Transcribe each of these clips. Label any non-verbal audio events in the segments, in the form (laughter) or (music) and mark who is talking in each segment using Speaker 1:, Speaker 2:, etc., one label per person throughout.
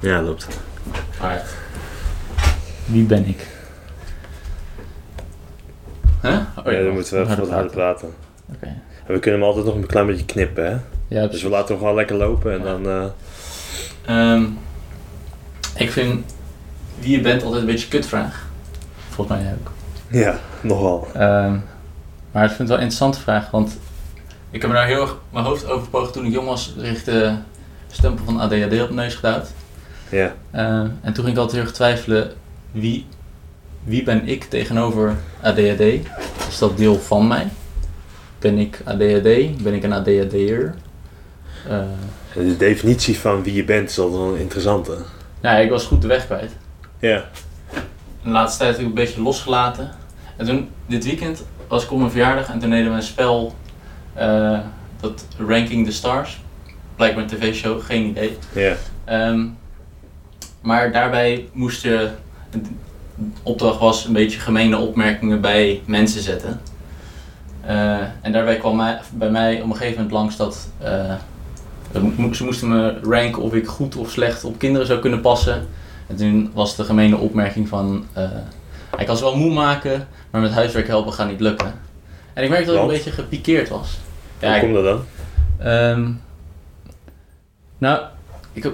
Speaker 1: Ja, loopt.
Speaker 2: Hard.
Speaker 3: Wie ben ik?
Speaker 2: Huh? Oh,
Speaker 1: ja,
Speaker 2: ja.
Speaker 1: dan moeten we even
Speaker 3: harder
Speaker 1: wat harder praten.
Speaker 3: Oké.
Speaker 1: En we kunnen hem altijd nog een klein beetje knippen, hè?
Speaker 3: Ja,
Speaker 1: Dus we laten hem gewoon lekker lopen en dan... eh,
Speaker 2: Ehm, ik vind wie je bent altijd een beetje een kutvraag.
Speaker 3: volgens mij ook.
Speaker 1: ja, nogal.
Speaker 3: Ehm, maar ik vind het wel een interessante vraag, want
Speaker 2: Ik heb me daar heel erg mijn hoofd over bewogen toen ik jong was, kreeg ik de stempel van ADHD op de neus gedouwd.
Speaker 1: Ja.
Speaker 2: Ehm, en toen ging ik altijd heel erg twijfelen, wie, wie ben ik tegenover ADHD? Is dat deel van mij? Ben ik ADHD? Ben ik een ADHD'er? Eh
Speaker 1: En De definitie van wie je bent is altijd wel een interessante.
Speaker 2: nou ja, ik was goed de weg kwijt.
Speaker 1: Ja.
Speaker 2: De laatste tijd heb ik een beetje losgelaten. En toen, dit weekend, was ik op mijn verjaardag en toen deden we een spel, eh, dat Ranking the Stars. Blijkbaar een tv-show, geen idee.
Speaker 1: Ja.
Speaker 2: Ehm, maar daarbij moest je. De opdracht was een beetje gemene opmerkingen bij mensen zetten. Eh, en daarbij kwam mij, bij mij op een gegeven moment langs dat. eh, mo- ze moesten me ranken of ik goed of slecht op kinderen zou kunnen passen. En toen was de gemene opmerking van. eh, hij kan ze wel moe maken, maar met huiswerk helpen gaat niet lukken. En ik merkte dat ik een
Speaker 1: Want?
Speaker 2: beetje gepikeerd was. Ja,
Speaker 1: Hoe
Speaker 2: ik-
Speaker 1: komt dat dan?
Speaker 2: Ehm, nou, ik heb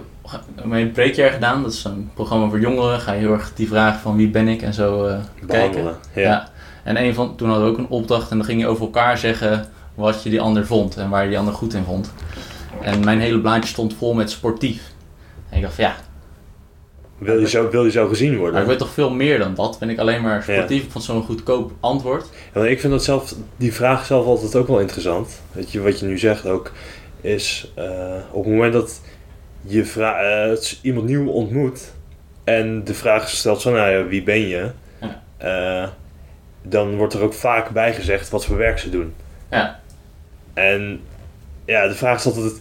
Speaker 2: mijn breekjaar gedaan. Dat is een programma voor jongeren. Ga je heel erg die vraag van wie ben ik en zo eh, kijken.
Speaker 1: Behandelen. Ja.
Speaker 2: En een van, toen hadden we ook een opdracht en dan ging je over elkaar zeggen wat je die ander vond en waar je die ander goed in vond. En mijn hele blaadje stond vol met sportief. En ik dacht van ja,
Speaker 1: Wil, je zo, wil je zo gezien
Speaker 2: maar ik
Speaker 1: worden?
Speaker 2: ben toch veel meer dan dat. Ben ik alleen maar sportief? Ik vond zo'n goedkoop antwoord.
Speaker 1: Want ik vind dat zelf, die vraag zelf altijd ook wel interessant. Weet je, wat je nu zegt ook, is eh, op het moment dat je vra- eh, iemand nieuw ontmoet en de vraag is gesteld van, nou ja, wie ben je?
Speaker 2: Ja.
Speaker 1: Eh, dan wordt er ook vaak bij gezegd wat voor werk ze doen.
Speaker 2: Ja.
Speaker 1: En ja, de vraag is altijd,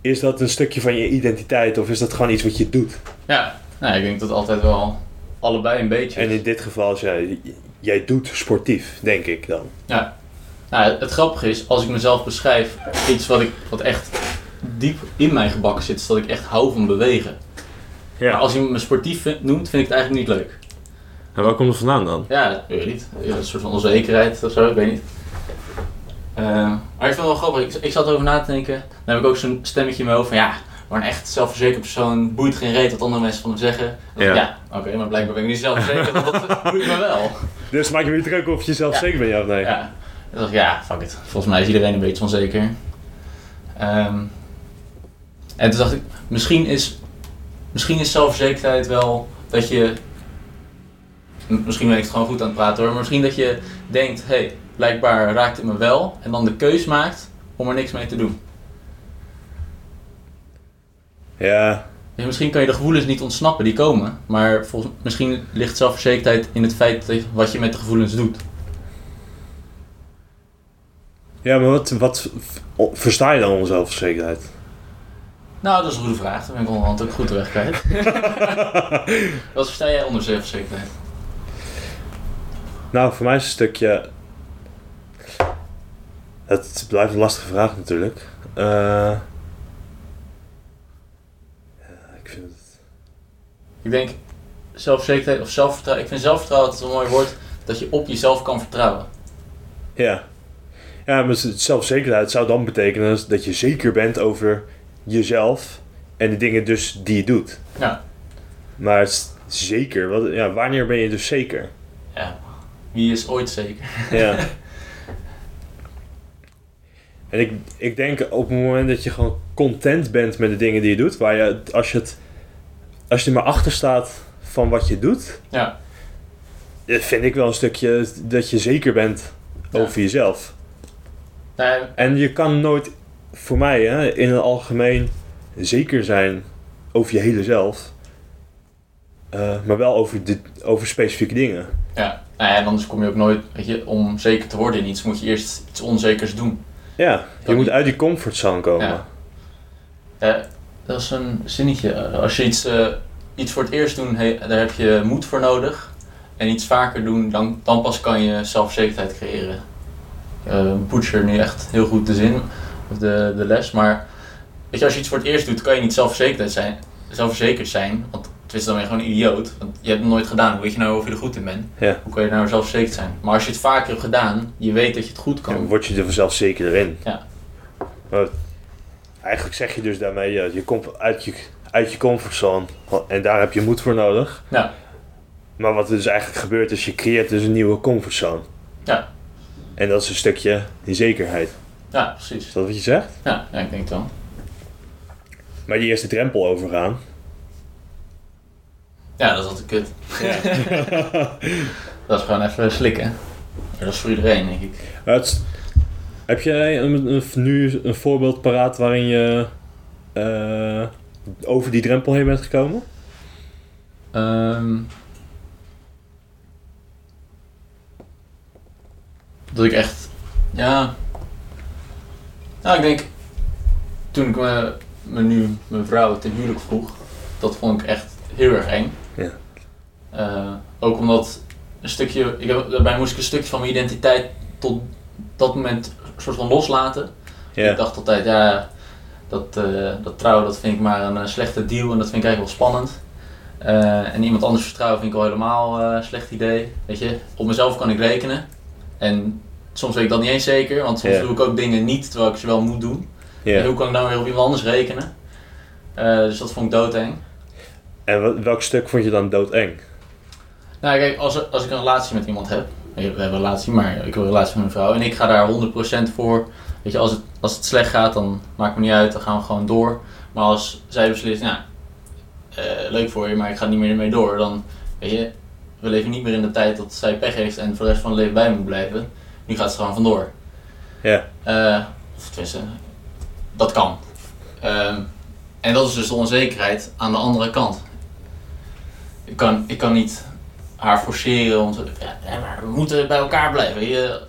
Speaker 1: is dat een stukje van je identiteit of is dat gewoon iets wat je doet?
Speaker 2: Ja, nou, ik denk dat altijd wel allebei een beetje.
Speaker 1: En in dit geval is, ja, j- jij doet sportief, denk ik dan.
Speaker 2: Nou, het grappige is, als ik mezelf beschrijf, iets wat, ik, wat echt diep in mijn gebak zit, is dat ik echt hou van bewegen. Maar als je me sportief vindt- noemt, vind ik het eigenlijk niet leuk.
Speaker 1: En waar komt het vandaan dan?
Speaker 2: Ja, dat weet ik niet. Ja, Een soort van onzekerheid of zo, ik weet niet. Eh, maar ik vind het wel grappig, ik, ik zat erover na te denken. Dan heb ik ook zo'n stemmetje in mijn hoofd van ja, maar een echt zelfverzekerd persoon boeit geen reet wat andere mensen van hem zeggen. Dan
Speaker 1: Ja.
Speaker 2: dacht ik, ja oké, maar blijkbaar ben ik niet zelfverzekerd, want dat boeit me wel.
Speaker 1: Dus maak je me niet druk of je zelf
Speaker 2: Ja.
Speaker 1: zeker bent, ja of nee?
Speaker 2: Ja. Dan dacht ik, ja, fuck it. Volgens mij is iedereen een beetje onzeker. Ehm, en toen dacht ik, misschien is, misschien is zelfverzekerdheid wel dat je... m- Misschien ben ik het gewoon goed aan het praten hoor. Maar misschien dat je denkt, hé, hey, blijkbaar raakt het me wel. En dan de keus maakt om er niks mee te doen.
Speaker 1: Ja,
Speaker 2: Dus misschien kan je de gevoelens niet ontsnappen die komen. Maar volgens, misschien ligt zelfverzekerdheid in het feit dat- wat je met de gevoelens doet.
Speaker 1: ja maar wat, wat v- o- versta je dan onder zelfverzekerdheid?
Speaker 2: Nou, dat is een goede vraag. Daar ben ik onderhand ook goed de weg kwijt. Wat versta jij onder zelfverzekerdheid?
Speaker 1: Nou, voor mij is het een stukje... Het blijft een lastige vraag natuurlijk. Eh, Ja, ik vind het...
Speaker 2: Ik denk zelfverzekerdheid of zelfvertrouwen. Ik vind zelfvertrouwen altijd een mooi woord. Dat je op jezelf kan vertrouwen.
Speaker 1: Ja. Ja, maar z- zelfverzekerdheid zou dan betekenen dat je zeker bent over jezelf en de dingen dus die je doet.
Speaker 2: Ja.
Speaker 1: Maar het is zeker, wat, ja, wanneer ben je dus zeker?
Speaker 2: Ja. Wie is ooit zeker? (laughs)
Speaker 1: Ja. En ik, ik denk op het moment dat je gewoon content bent met de dingen die je doet, waar je, als je het, als je er maar achter staat van wat je doet,
Speaker 2: Ja.
Speaker 1: eh, vind ik wel een stukje dat je zeker bent
Speaker 2: Ja.
Speaker 1: over jezelf.
Speaker 2: Nee,
Speaker 1: En je kan nooit, voor mij hè, in het algemeen, zeker zijn over je hele zelf, Eh, maar wel over, de, over specifieke dingen.
Speaker 2: ja. Nou ja, en anders kom je ook nooit, weet je, om zeker te worden in iets moet je eerst iets onzekers doen.
Speaker 1: Ja, je
Speaker 2: Dat-
Speaker 1: moet uit die comfortzone komen.
Speaker 2: Ja. Ja, Eh, dat is een zinnetje. Als je iets, eh, iets voor het eerst doet, he- daar heb je moed voor nodig. En iets vaker doen, dan, dan pas kan je zelfzekerheid creëren. Eh Butcher nu echt heel goed de zin, of de, de les. Maar weet je, als je iets voor het eerst doet, kan je niet zelfverzekerd zijn, zelfverzekerd zijn, want het is dan weer gewoon een idioot. Want je hebt het nooit gedaan, hoe weet je nou of je er goed in bent?
Speaker 1: Ja.
Speaker 2: Hoe kan je nou zelfverzekerd zijn? Maar als je het vaker hebt gedaan, je weet dat je het goed kan.
Speaker 1: Dan word je er vanzelf zekerder in.
Speaker 2: Ja.
Speaker 1: Maar eigenlijk zeg je dus daarmee, ja, je komt uit je, uit je comfortzone en daar heb je moed voor nodig.
Speaker 2: Ja.
Speaker 1: Maar wat er dus eigenlijk gebeurt is, je creëert dus een nieuwe comfortzone.
Speaker 2: Ja.
Speaker 1: En dat is een stukje die zekerheid.
Speaker 2: Ja, precies.
Speaker 1: Is dat wat je zegt?
Speaker 2: Ja, ja, ik denk het wel.
Speaker 1: Maar die eerste drempel overgaan.
Speaker 2: Ja, dat is altijd kut. (laughs) Dat is gewoon even slikken. Maar dat is voor iedereen, denk ik.
Speaker 1: Maar het is- heb jij een, een- nu een voorbeeld paraat waarin je eh, over die drempel heen bent gekomen?
Speaker 4: Ehm,
Speaker 2: Dat ik echt, ja. Nou, ik denk. Toen ik me, me nu mijn vrouw ten huwelijk vroeg, dat vond ik echt heel erg eng.
Speaker 1: Ja.
Speaker 2: Eh, ook omdat een stukje, ik heb, daarbij moest ik een stukje van mijn identiteit tot dat moment soort van loslaten. Ik dacht altijd, ja, dat, eh, dat trouwen dat vind ik maar een eh, slechte deal en dat vind ik eigenlijk wel spannend. Eh, en iemand anders vertrouwen vind ik al helemaal eh, een slecht idee. Weet je, op mezelf kan ik rekenen. En soms weet ik dat niet eens zeker, want soms
Speaker 1: Ja.
Speaker 2: doe ik ook dingen niet terwijl ik ze wel moet doen. En
Speaker 1: Ja.
Speaker 2: hoe kan ik nou weer op iemand anders rekenen? Eh, dus dat vond ik doodeng.
Speaker 1: En wat- welk stuk vond je dan doodeng?
Speaker 2: Nou, kijk, als, er- als ik een relatie met iemand heb, we hebben een relatie, maar ik wil een relatie met mijn vrouw en ik ga daar 100% voor. Weet je, als het, als het slecht gaat, dan maakt het me niet uit, dan gaan we gewoon door. Maar als zij beslist, nou, eh, leuk voor je, maar ik ga niet meer ermee door, dan weet je, we leven niet meer in de tijd dat zij pech heeft en voor de rest van het leven bij moet blijven. Nu gaat ze gewoon vandoor.
Speaker 1: Ja.
Speaker 2: Eh, of tenminste, dat kan. Ehm, en dat is dus de onzekerheid aan de andere kant. Ik kan, ik kan niet haar forceren om te. Ja, ja, maar we moeten bij elkaar blijven. Je,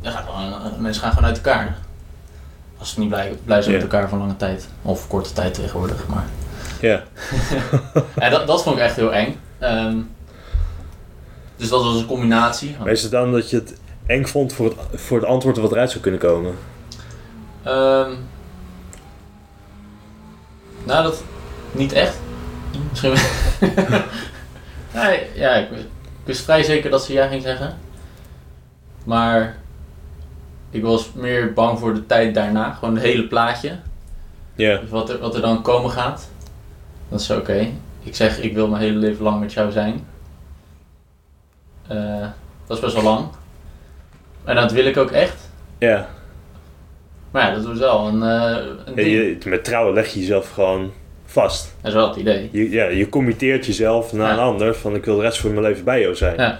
Speaker 2: je gaat gewoon, mensen gaan gewoon uit elkaar. Als ze niet blij, blij zijn
Speaker 1: Ja.
Speaker 2: met elkaar voor lange tijd. Of korte tijd tegenwoordig. Maar.
Speaker 1: Ja.
Speaker 2: Ja, dat, dat vond ik echt heel eng. Ehm, dus dat was een combinatie.
Speaker 1: Maar is het dan dat je het eng vond voor het, voor het antwoord wat eruit zou kunnen komen?
Speaker 2: Ehm, nou, dat niet echt. Misschien. (laughs) nee, ja, ik, ik wist vrij zeker dat ze ja ging zeggen. Maar ik was meer bang voor de tijd daarna. Gewoon het hele plaatje.
Speaker 1: Ja.
Speaker 2: Dus wat er, wat er dan komen gaat, dat is oké. Ik zeg, ik wil mijn hele leven lang met jou zijn. Eh, dat is best wel lang. En dat wil ik ook echt.
Speaker 1: Ja.
Speaker 2: Maar ja, dat is wel een, eh
Speaker 1: Ja,
Speaker 2: een ding.
Speaker 1: je- met trouwen leg je jezelf gewoon vast.
Speaker 2: Dat is wel het idee.
Speaker 1: Je, ja, je committeert jezelf naar
Speaker 2: Ja.
Speaker 1: een ander van ik wil de rest van mijn leven bij jou zijn.
Speaker 2: Ja.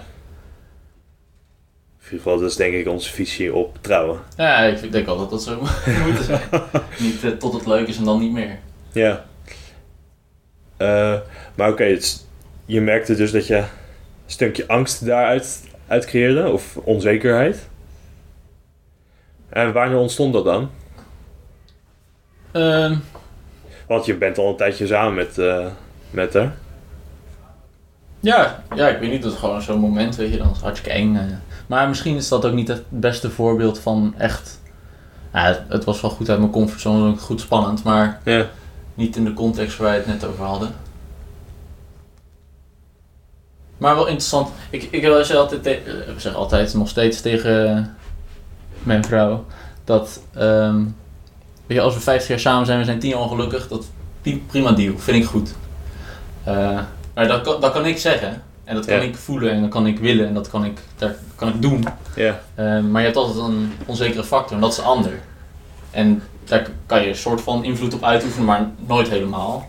Speaker 1: In ieder geval, dat is denk ik onze visie op trouwen.
Speaker 2: Ja, ik vind- denk wel dat dat zo (laughs) moet
Speaker 1: (laughs)
Speaker 2: zijn. niet eh, tot het leuk is en dan niet meer.
Speaker 1: Ja. Eh, maar oké, het is- je merkte dus dat je een stukje angst daaruit uit creëerde, of onzekerheid. En wanneer ontstond dat dan?
Speaker 2: Ehm,
Speaker 1: Want je bent al een tijdje samen met, eh, met haar.
Speaker 2: ja, ja, ik weet niet, dat is gewoon zo'n moment, weet je, dan is het hartstikke eng. eh.
Speaker 4: maar misschien is dat ook niet het beste voorbeeld van echt... Ja, het, het was wel goed uit mijn comfortzone,
Speaker 2: dus
Speaker 4: ook goed spannend, maar...
Speaker 1: Ja.
Speaker 2: Niet in de context waar wij het net over hadden. Maar wel interessant. Ik, ik zeg altijd, te- eh, ik zeg altijd nog steeds tegen mijn vrouw dat ehm, weet je, als we 50 jaar samen zijn, we zijn 10 jaar ongelukkig, dat pri- prima deal, vind ik goed. Eh, maar dat kan, dat kan ik zeggen. En dat kan
Speaker 1: Ja.
Speaker 2: ik voelen en dat kan ik willen en dat kan ik, daar kan ik doen.
Speaker 1: Ja.
Speaker 2: Eh, maar je hebt altijd een onzekere factor en dat is de ander. En daar k- kan je een soort van invloed op uitoefenen, maar nooit helemaal.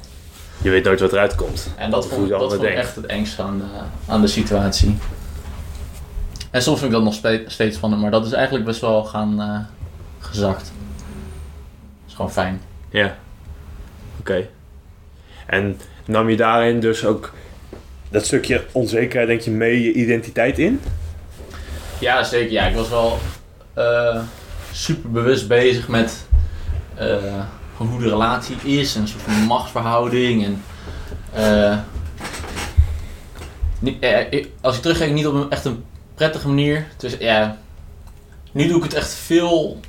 Speaker 1: Je weet nooit wat eruit komt.
Speaker 2: En dat
Speaker 1: Of
Speaker 2: vond,
Speaker 1: hoe de
Speaker 2: dat
Speaker 1: ander
Speaker 2: vond ik
Speaker 1: denkt.
Speaker 2: echt het engst aan de, aan de situatie. En soms vind ik dat nog spe- steeds spannend, maar dat is eigenlijk best wel gaan eh, gezakt. is gewoon fijn.
Speaker 1: Ja. Oké. En nam je daarin dus ook dat stukje onzekerheid, denk je, mee je identiteit in?
Speaker 2: Ja, zeker. Ja, ik was wel super bewust bezig met eh, van hoe de relatie is en een soort van machtsverhouding. En, eh, niet- eh, ik- als ik terugkijk, niet op een echt een prettige manier. Dus, ja, nu doe ik het echt veel.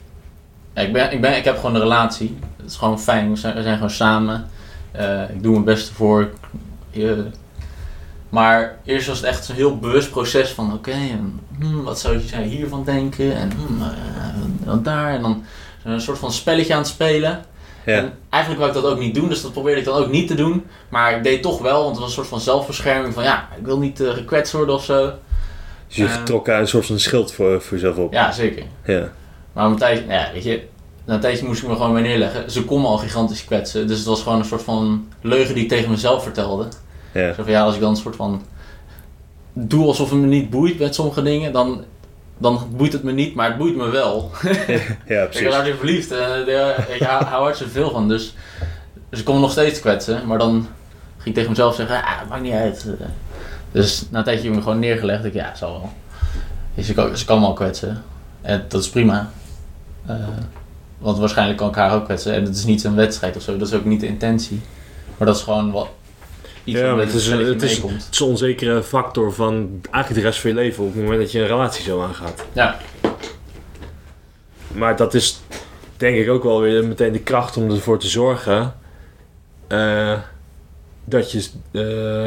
Speaker 2: Ja, ik, ben, ik, ben, ik heb gewoon een relatie. Het is gewoon fijn. We zijn, we zijn gewoon samen.
Speaker 5: Ja.
Speaker 2: Eh, ik doe mijn best ervoor. Ik- eh, je- maar eerst was het echt zo'n heel bewust proces van oké, en, hmm, wat zou jij hiervan denken? En hmm, eh, dan daar. En dan een soort van spelletje aan het spelen.
Speaker 1: Ja.
Speaker 2: En eigenlijk wou ik dat ook niet doen, dus dat probeerde ik dan ook niet te doen. Maar ik deed toch wel, want het was een soort van zelfbescherming van ja, ik wil niet eh, gekwetst worden of zo.
Speaker 1: Dus je
Speaker 2: Eh.
Speaker 1: trok eh, een soort van schild voor, voor jezelf op.
Speaker 2: Ja, zeker.
Speaker 1: Ja.
Speaker 2: Maar om een tijdje, nou ja, weet je, na een tijdje moest ik me gewoon mee neerleggen. Ze kon me al gigantisch kwetsen, dus het was gewoon een soort van leugen die ik tegen mezelf vertelde.
Speaker 1: Ja.
Speaker 2: Zo van ja, als ik dan een soort van doe alsof het me niet boeit met sommige dingen, dan, dan boeit het me niet, maar het boeit me wel.
Speaker 1: ja,
Speaker 2: Ik ben
Speaker 1: precies.
Speaker 2: hartstikke verliefd. en eh, ik hou, hou hartstikke veel van. Dus, dus ik kon me nog steeds kwetsen. Maar dan ging ik tegen mezelf zeggen, ah, maakt niet uit. Eh, Dus na een tijdje heb ik me gewoon neergelegd. Ik, ja, zal wel. Dus ik, ze kan me al kwetsen. En dat is prima. Eh, want waarschijnlijk kan ik haar ook kwetsen. En het is niet een wedstrijd of zo. Dat is ook niet de intentie. Maar dat is gewoon wat... Iets
Speaker 1: Ja,
Speaker 2: wat
Speaker 1: maar
Speaker 2: met
Speaker 1: het is-
Speaker 2: spelletje
Speaker 1: het is-
Speaker 2: meekomt.
Speaker 1: Het is een onzekere factor van eigenlijk de rest van je leven op het moment dat je een relatie zo aangaat.
Speaker 2: Ja,
Speaker 1: Maar dat is denk ik ook wel weer meteen de kracht om ervoor te zorgen eh, dat je eh,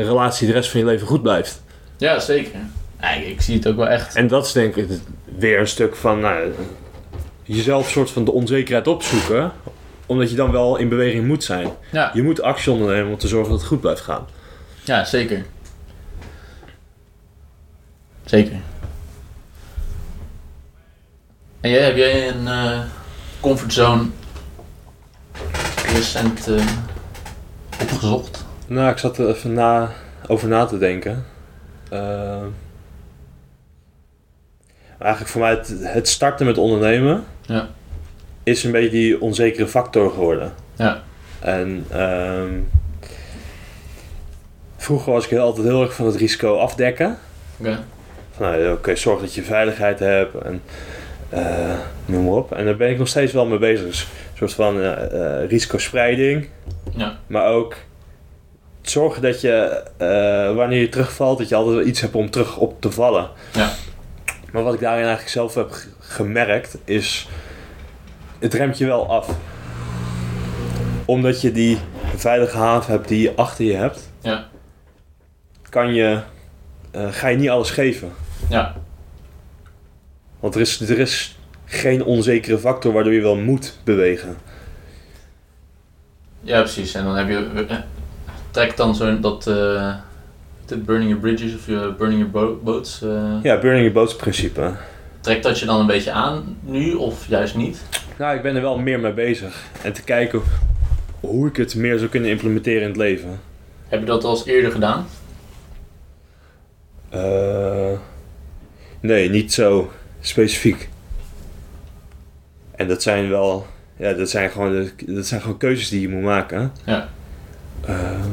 Speaker 1: relatie de rest van je leven goed blijft.
Speaker 2: ja zeker. Ja, ik, ik zie het ook wel echt.
Speaker 1: En dat is denk ik het- weer een stuk van nou, jezelf soort van de onzekerheid opzoeken omdat je dan wel in beweging moet zijn.
Speaker 2: Ja.
Speaker 1: Je moet actie ondernemen om te zorgen dat het goed blijft gaan.
Speaker 2: Ja, zeker. Zeker. En jij, heb jij een eh, comfortzone recent eh, opgezocht?
Speaker 1: Nou, ik zat er even na, over na te denken. Ehm, eigenlijk voor mij het, het starten met ondernemen
Speaker 2: Ja.
Speaker 1: is een beetje die onzekere factor geworden.
Speaker 2: Ja.
Speaker 1: En ehm, vroeger was ik heel- altijd heel erg van het risico afdekken.
Speaker 2: Oké.
Speaker 1: Van, nou, ja, oké, zorg dat je veiligheid hebt en eh, noem maar op. En daar ben ik nog steeds wel mee bezig. Dus een soort van eh, eh, risicospreiding.
Speaker 2: Ja.
Speaker 1: Maar ook zorgen dat je, eh, wanneer je terugvalt, dat je altijd wel iets hebt om terug op te vallen.
Speaker 2: Ja.
Speaker 1: Maar wat ik daarin eigenlijk zelf heb g- gemerkt, is het remt je wel af. Omdat je die veilige haven hebt die je achter je hebt,
Speaker 2: Ja.
Speaker 1: kan je, eh, ga je niet alles geven.
Speaker 2: Ja.
Speaker 1: Want er is, er is geen onzekere factor waardoor je wel moet bewegen.
Speaker 2: Ja, precies. En dan heb je. eh, Trek dan zo'n dat. eh, de Burning Your Bridges of je Burning Your Bo- Boats. eh,
Speaker 1: Ja, burning your boats principe.
Speaker 2: Trek dat je dan een beetje aan nu of juist niet?
Speaker 1: Nou, ik ben er wel meer mee bezig. En te kijken hoe ik het meer zou kunnen implementeren in het leven.
Speaker 2: Heb je dat al eens eerder gedaan?
Speaker 1: Eh, nee, niet zo specifiek. En dat zijn wel... Ja, dat zijn gewoon, de- dat zijn gewoon keuzes die je moet maken.
Speaker 2: Ja.
Speaker 1: Ehm,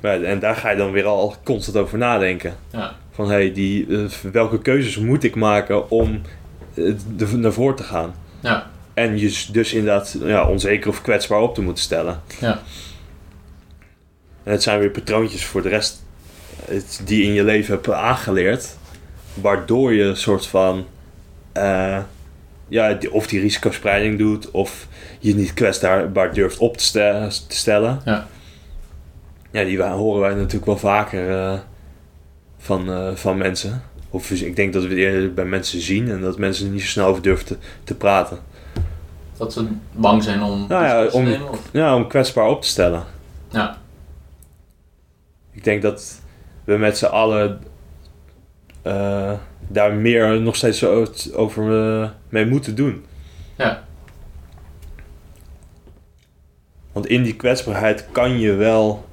Speaker 1: maar, en daar ga je dan weer al constant over nadenken.
Speaker 2: Ja.
Speaker 1: Van, hé, hey, die, eh, welke keuzes moet ik maken om eh, de, naar voren te gaan?
Speaker 2: Ja.
Speaker 1: En je s- dus inderdaad ja, onzeker of kwetsbaar op te moeten stellen.
Speaker 2: Ja.
Speaker 1: En het zijn weer patroontjes voor de rest eh, het- die je in je leven hebt aangeleerd. Waardoor je een soort van... eh, ja, die- of die risicospreiding doet, of je niet kwetsbaar durft op te, ste- te stellen.
Speaker 2: Ja.
Speaker 1: Ja, die wa- horen wij natuurlijk wel vaker eh, van, eh, van mensen. Of dus ik denk dat we het eerder bij mensen zien en dat mensen er niet zo snel over durven te, te praten.
Speaker 2: Dat ze bang zijn om
Speaker 1: Nou ja,
Speaker 2: risico's
Speaker 1: om-
Speaker 2: te nemen? Of?
Speaker 1: Ja, om kwetsbaar op te stellen.
Speaker 2: Ja.
Speaker 1: Ik denk dat we met z'n allen eh, daar meer nog steeds o- over eh, mee moeten doen.
Speaker 2: Ja.
Speaker 1: Want in die kwetsbaarheid kan je wel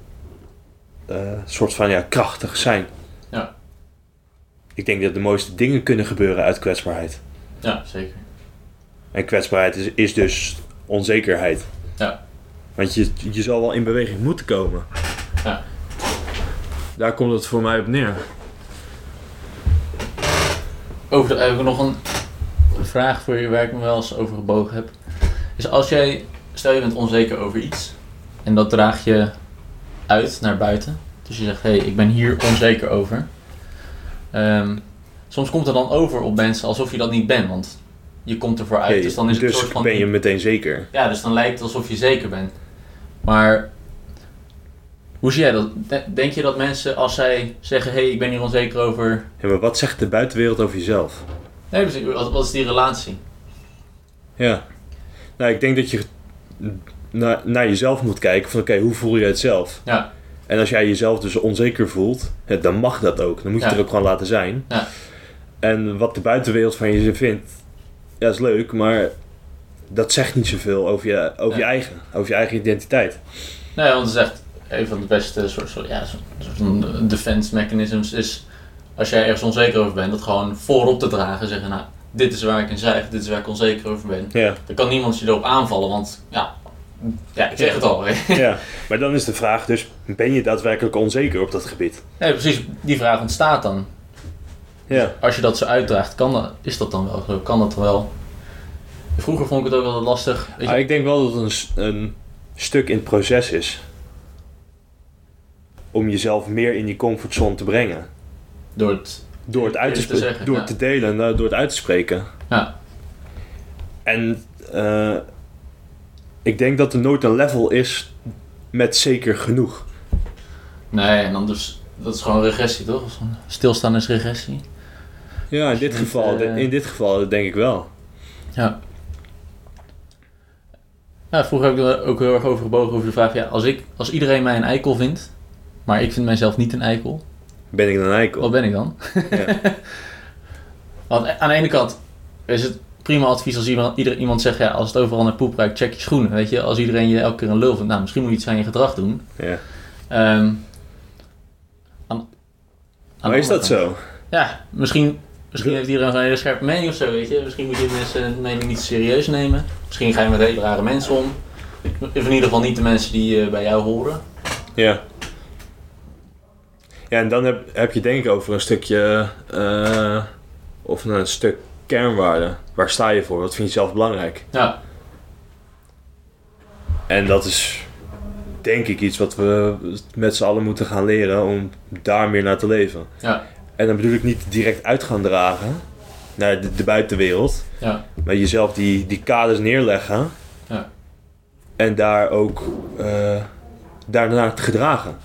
Speaker 1: eh soort van ja, krachtig zijn.
Speaker 2: Ja.
Speaker 1: Ik denk dat de mooiste dingen kunnen gebeuren uit kwetsbaarheid.
Speaker 2: Ja, zeker.
Speaker 1: En kwetsbaarheid is, is dus onzekerheid.
Speaker 2: Ja.
Speaker 1: Want je, je zal wel in beweging moeten komen.
Speaker 2: Ja.
Speaker 1: Daar komt het voor mij op neer.
Speaker 2: Over de, heb ik nog een vraag voor je waar ik me wel eens over gebogen heb. Is als jij, stel je bent onzeker over iets en dat draag je uit naar buiten. Dus je zegt, hé, hey, ik ben hier onzeker over. Ehm, soms komt er dan over op mensen alsof je dat niet bent, want je komt ervoor uit.
Speaker 1: Oké,
Speaker 2: dus dan is het
Speaker 1: dus
Speaker 2: een soort van
Speaker 1: ben je meteen zeker.
Speaker 2: Ja, dus dan lijkt het alsof je zeker bent. Maar Hoe zie jij dat? De- Denk je dat mensen als zij zeggen, hé, hey, ik ben hier onzeker over...
Speaker 1: Ja, maar wat zegt de buitenwereld over jezelf?
Speaker 2: Nee, precies, wat, wat is die relatie?
Speaker 1: Ja. Nou, ik denk dat je naar, naar jezelf moet kijken van oké, hoe voel je het zelf?
Speaker 2: Ja.
Speaker 1: En als jij jezelf dus onzeker voelt, hè, dan mag dat ook. Dan moet je
Speaker 2: Ja.
Speaker 1: het er ook gewoon laten zijn.
Speaker 2: Ja.
Speaker 1: En wat de buitenwereld van je vindt, ja, is leuk, maar dat zegt niet zoveel over je, over
Speaker 2: Nee.
Speaker 1: je eigen, over je eigen identiteit.
Speaker 2: Nee, want het is echt een van de beste soort, soort, ja, soort soort van defense mechanisms is... Als jij ergens onzeker over bent, dat gewoon voorop te dragen. en Zeggen, nou, dit is waar ik in zuig, dit is waar ik onzeker over ben. (laughs)
Speaker 1: Ja.
Speaker 2: Dan kan niemand je erop aanvallen, want ja, ja ik zeg het al. hè.
Speaker 1: ja. Maar dan is de vraag dus, ben je daadwerkelijk onzeker op dat gebied?
Speaker 2: Nee, precies, die vraag ontstaat dan.
Speaker 1: Ja.
Speaker 2: als je dat zo uitdraagt, kan dat, is dat dan wel zo? Kan dat dan wel? Vroeger vond ik het ook altijd lastig. Weet je,
Speaker 1: Maar Ah, ik denk wel dat het een, s- een stuk in het proces is. Om jezelf meer in die comfortzone te brengen.
Speaker 2: door het,
Speaker 1: Door het uit te,
Speaker 2: Eerlijk te
Speaker 1: spre-
Speaker 2: zeggen,
Speaker 1: door
Speaker 2: ja.
Speaker 1: te delen, nou, door het uit te spreken.
Speaker 2: Ja.
Speaker 1: En eh, ik denk dat er nooit een level is met zeker genoeg.
Speaker 2: nee, en anders, dat is gewoon regressie toch? Of zo? Stilstaan is regressie.
Speaker 1: Ja, in
Speaker 2: je
Speaker 1: dit
Speaker 2: niet,
Speaker 1: geval,
Speaker 2: eh,
Speaker 1: in dit geval denk ik wel.
Speaker 2: Ja, vroeger heb ik er ook heel erg over gebogen over de vraag, ja, als, ik, als iedereen mij een eikel vindt, maar ik vind mijzelf niet een eikel,
Speaker 1: Ben ik dan een eikel?
Speaker 2: wat ben ik dan?
Speaker 1: Ja.
Speaker 2: (laughs) Want aan de ene kant is het prima advies als iemand, ieder, iemand zegt, ja, als het overal naar poep ruikt, check je schoenen. Weet je, als iedereen je elke keer een lul vindt, nou, misschien moet je iets aan je gedrag doen.
Speaker 1: ja.
Speaker 2: Ehm, aan- aan de
Speaker 1: Maar Oh, is dat
Speaker 2: andere kant.
Speaker 1: zo?
Speaker 2: Ja, misschien, misschien heeft iedereen gewoon een hele scherpe mening of zo, weet je. Misschien moet je mensen hun mening niet serieus nemen. Misschien ga je met hele rare mensen om. Of in ieder geval niet de mensen die eh, bij jou horen.
Speaker 1: Ja. Ja, en dan heb, heb je denk ik over een stukje, eh, of een stuk kernwaarde. Waar sta je voor? Wat vind je zelf belangrijk?
Speaker 2: Ja,
Speaker 1: En dat is denk ik iets wat we met z'n allen moeten gaan leren om daar meer naar te leven.
Speaker 2: Ja.
Speaker 1: En dan bedoel ik niet direct uit gaan dragen naar de, de buitenwereld,
Speaker 2: ja,
Speaker 1: maar jezelf die, die kaders neerleggen
Speaker 2: Ja.
Speaker 1: en daar ook eh daarnaar te gedragen.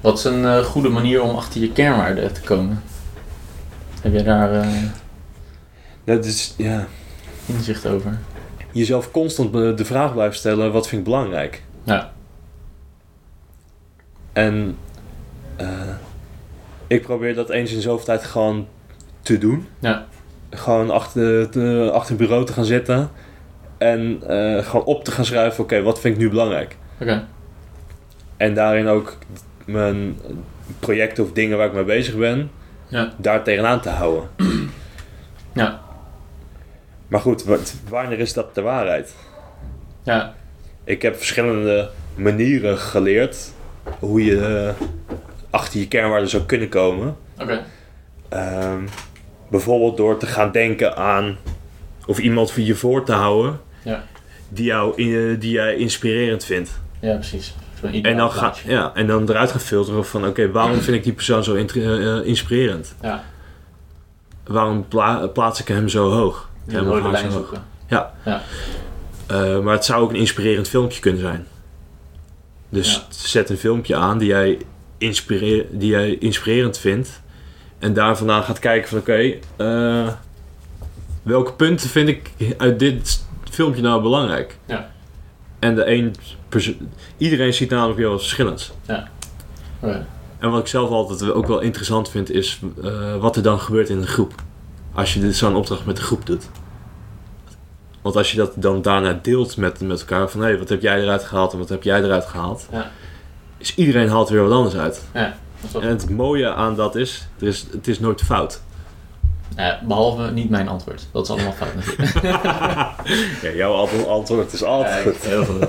Speaker 2: Wat is een eh, goede manier om achter je kernwaarde te komen? Heb jij daar eh,
Speaker 1: Dat is, ja.
Speaker 2: inzicht over?
Speaker 1: jezelf constant eh, de vraag blijft stellen: wat vind ik belangrijk?
Speaker 2: Ja.
Speaker 1: En eh, ik probeer dat eens in zoveel tijd gewoon te doen.
Speaker 2: Ja.
Speaker 1: Gewoon achter, te- achter het bureau te gaan zitten en eh, gewoon op te gaan schrijven: oké, wat vind ik nu belangrijk?
Speaker 2: Oké,
Speaker 1: En daarin ook mijn projecten of dingen waar ik mee bezig ben,
Speaker 2: Ja.
Speaker 1: daar tegenaan te houden.
Speaker 2: Ja.
Speaker 1: Maar goed, wat- wanneer is dat de waarheid?
Speaker 2: ja,
Speaker 1: Ik heb verschillende manieren geleerd hoe je eh, achter je kernwaarden zou kunnen komen.
Speaker 2: oké.
Speaker 1: Ehm, bijvoorbeeld door te gaan denken aan of iemand voor je voor te houden
Speaker 2: Ja.
Speaker 1: die, jou, in- eh, die jij inspirerend vindt.
Speaker 2: Ja, precies. Zo'n
Speaker 1: En
Speaker 2: ideaal
Speaker 1: dan, ga,
Speaker 2: plaatje.
Speaker 1: ja, en dan eruit gaan filteren van oké, waarom vind ik die persoon zo int- eh, eh, inspirerend?
Speaker 2: Ja.
Speaker 1: Waarom pla- plaats ik hem zo hoog?
Speaker 2: Die
Speaker 1: Hem of
Speaker 2: rode
Speaker 1: haar
Speaker 2: lijn
Speaker 1: zo hoog?
Speaker 2: zoeken.
Speaker 1: Eh, maar het zou ook een inspirerend filmpje kunnen zijn. Dus zet een filmpje aan die jij, inspireer, die jij inspirerend vindt. En daar vandaan gaat kijken van oké, eh, welke punten vind ik uit dit filmpje nou belangrijk?
Speaker 2: Ja.
Speaker 1: En de een perso- iedereen ziet namelijk weer wat verschillends.
Speaker 2: Oké.
Speaker 1: En wat ik zelf altijd ook wel interessant vind is eh, wat er dan gebeurt in een groep. Als je dit zo'n opdracht met een groep doet. Want als je dat dan daarna deelt met, met elkaar van hé, wat heb jij eruit gehaald en wat heb jij eruit gehaald.
Speaker 2: Ja.
Speaker 1: Is iedereen haalt weer wat anders uit.
Speaker 2: Dat is wel-
Speaker 1: En het mooie aan dat is, er is het is nooit fout.
Speaker 2: Eh, behalve niet mijn antwoord. Dat is allemaal fout natuurlijk.
Speaker 1: Ja, jouw ant- antwoord is altijd
Speaker 2: Kijk,
Speaker 1: goed.
Speaker 2: Heel goed.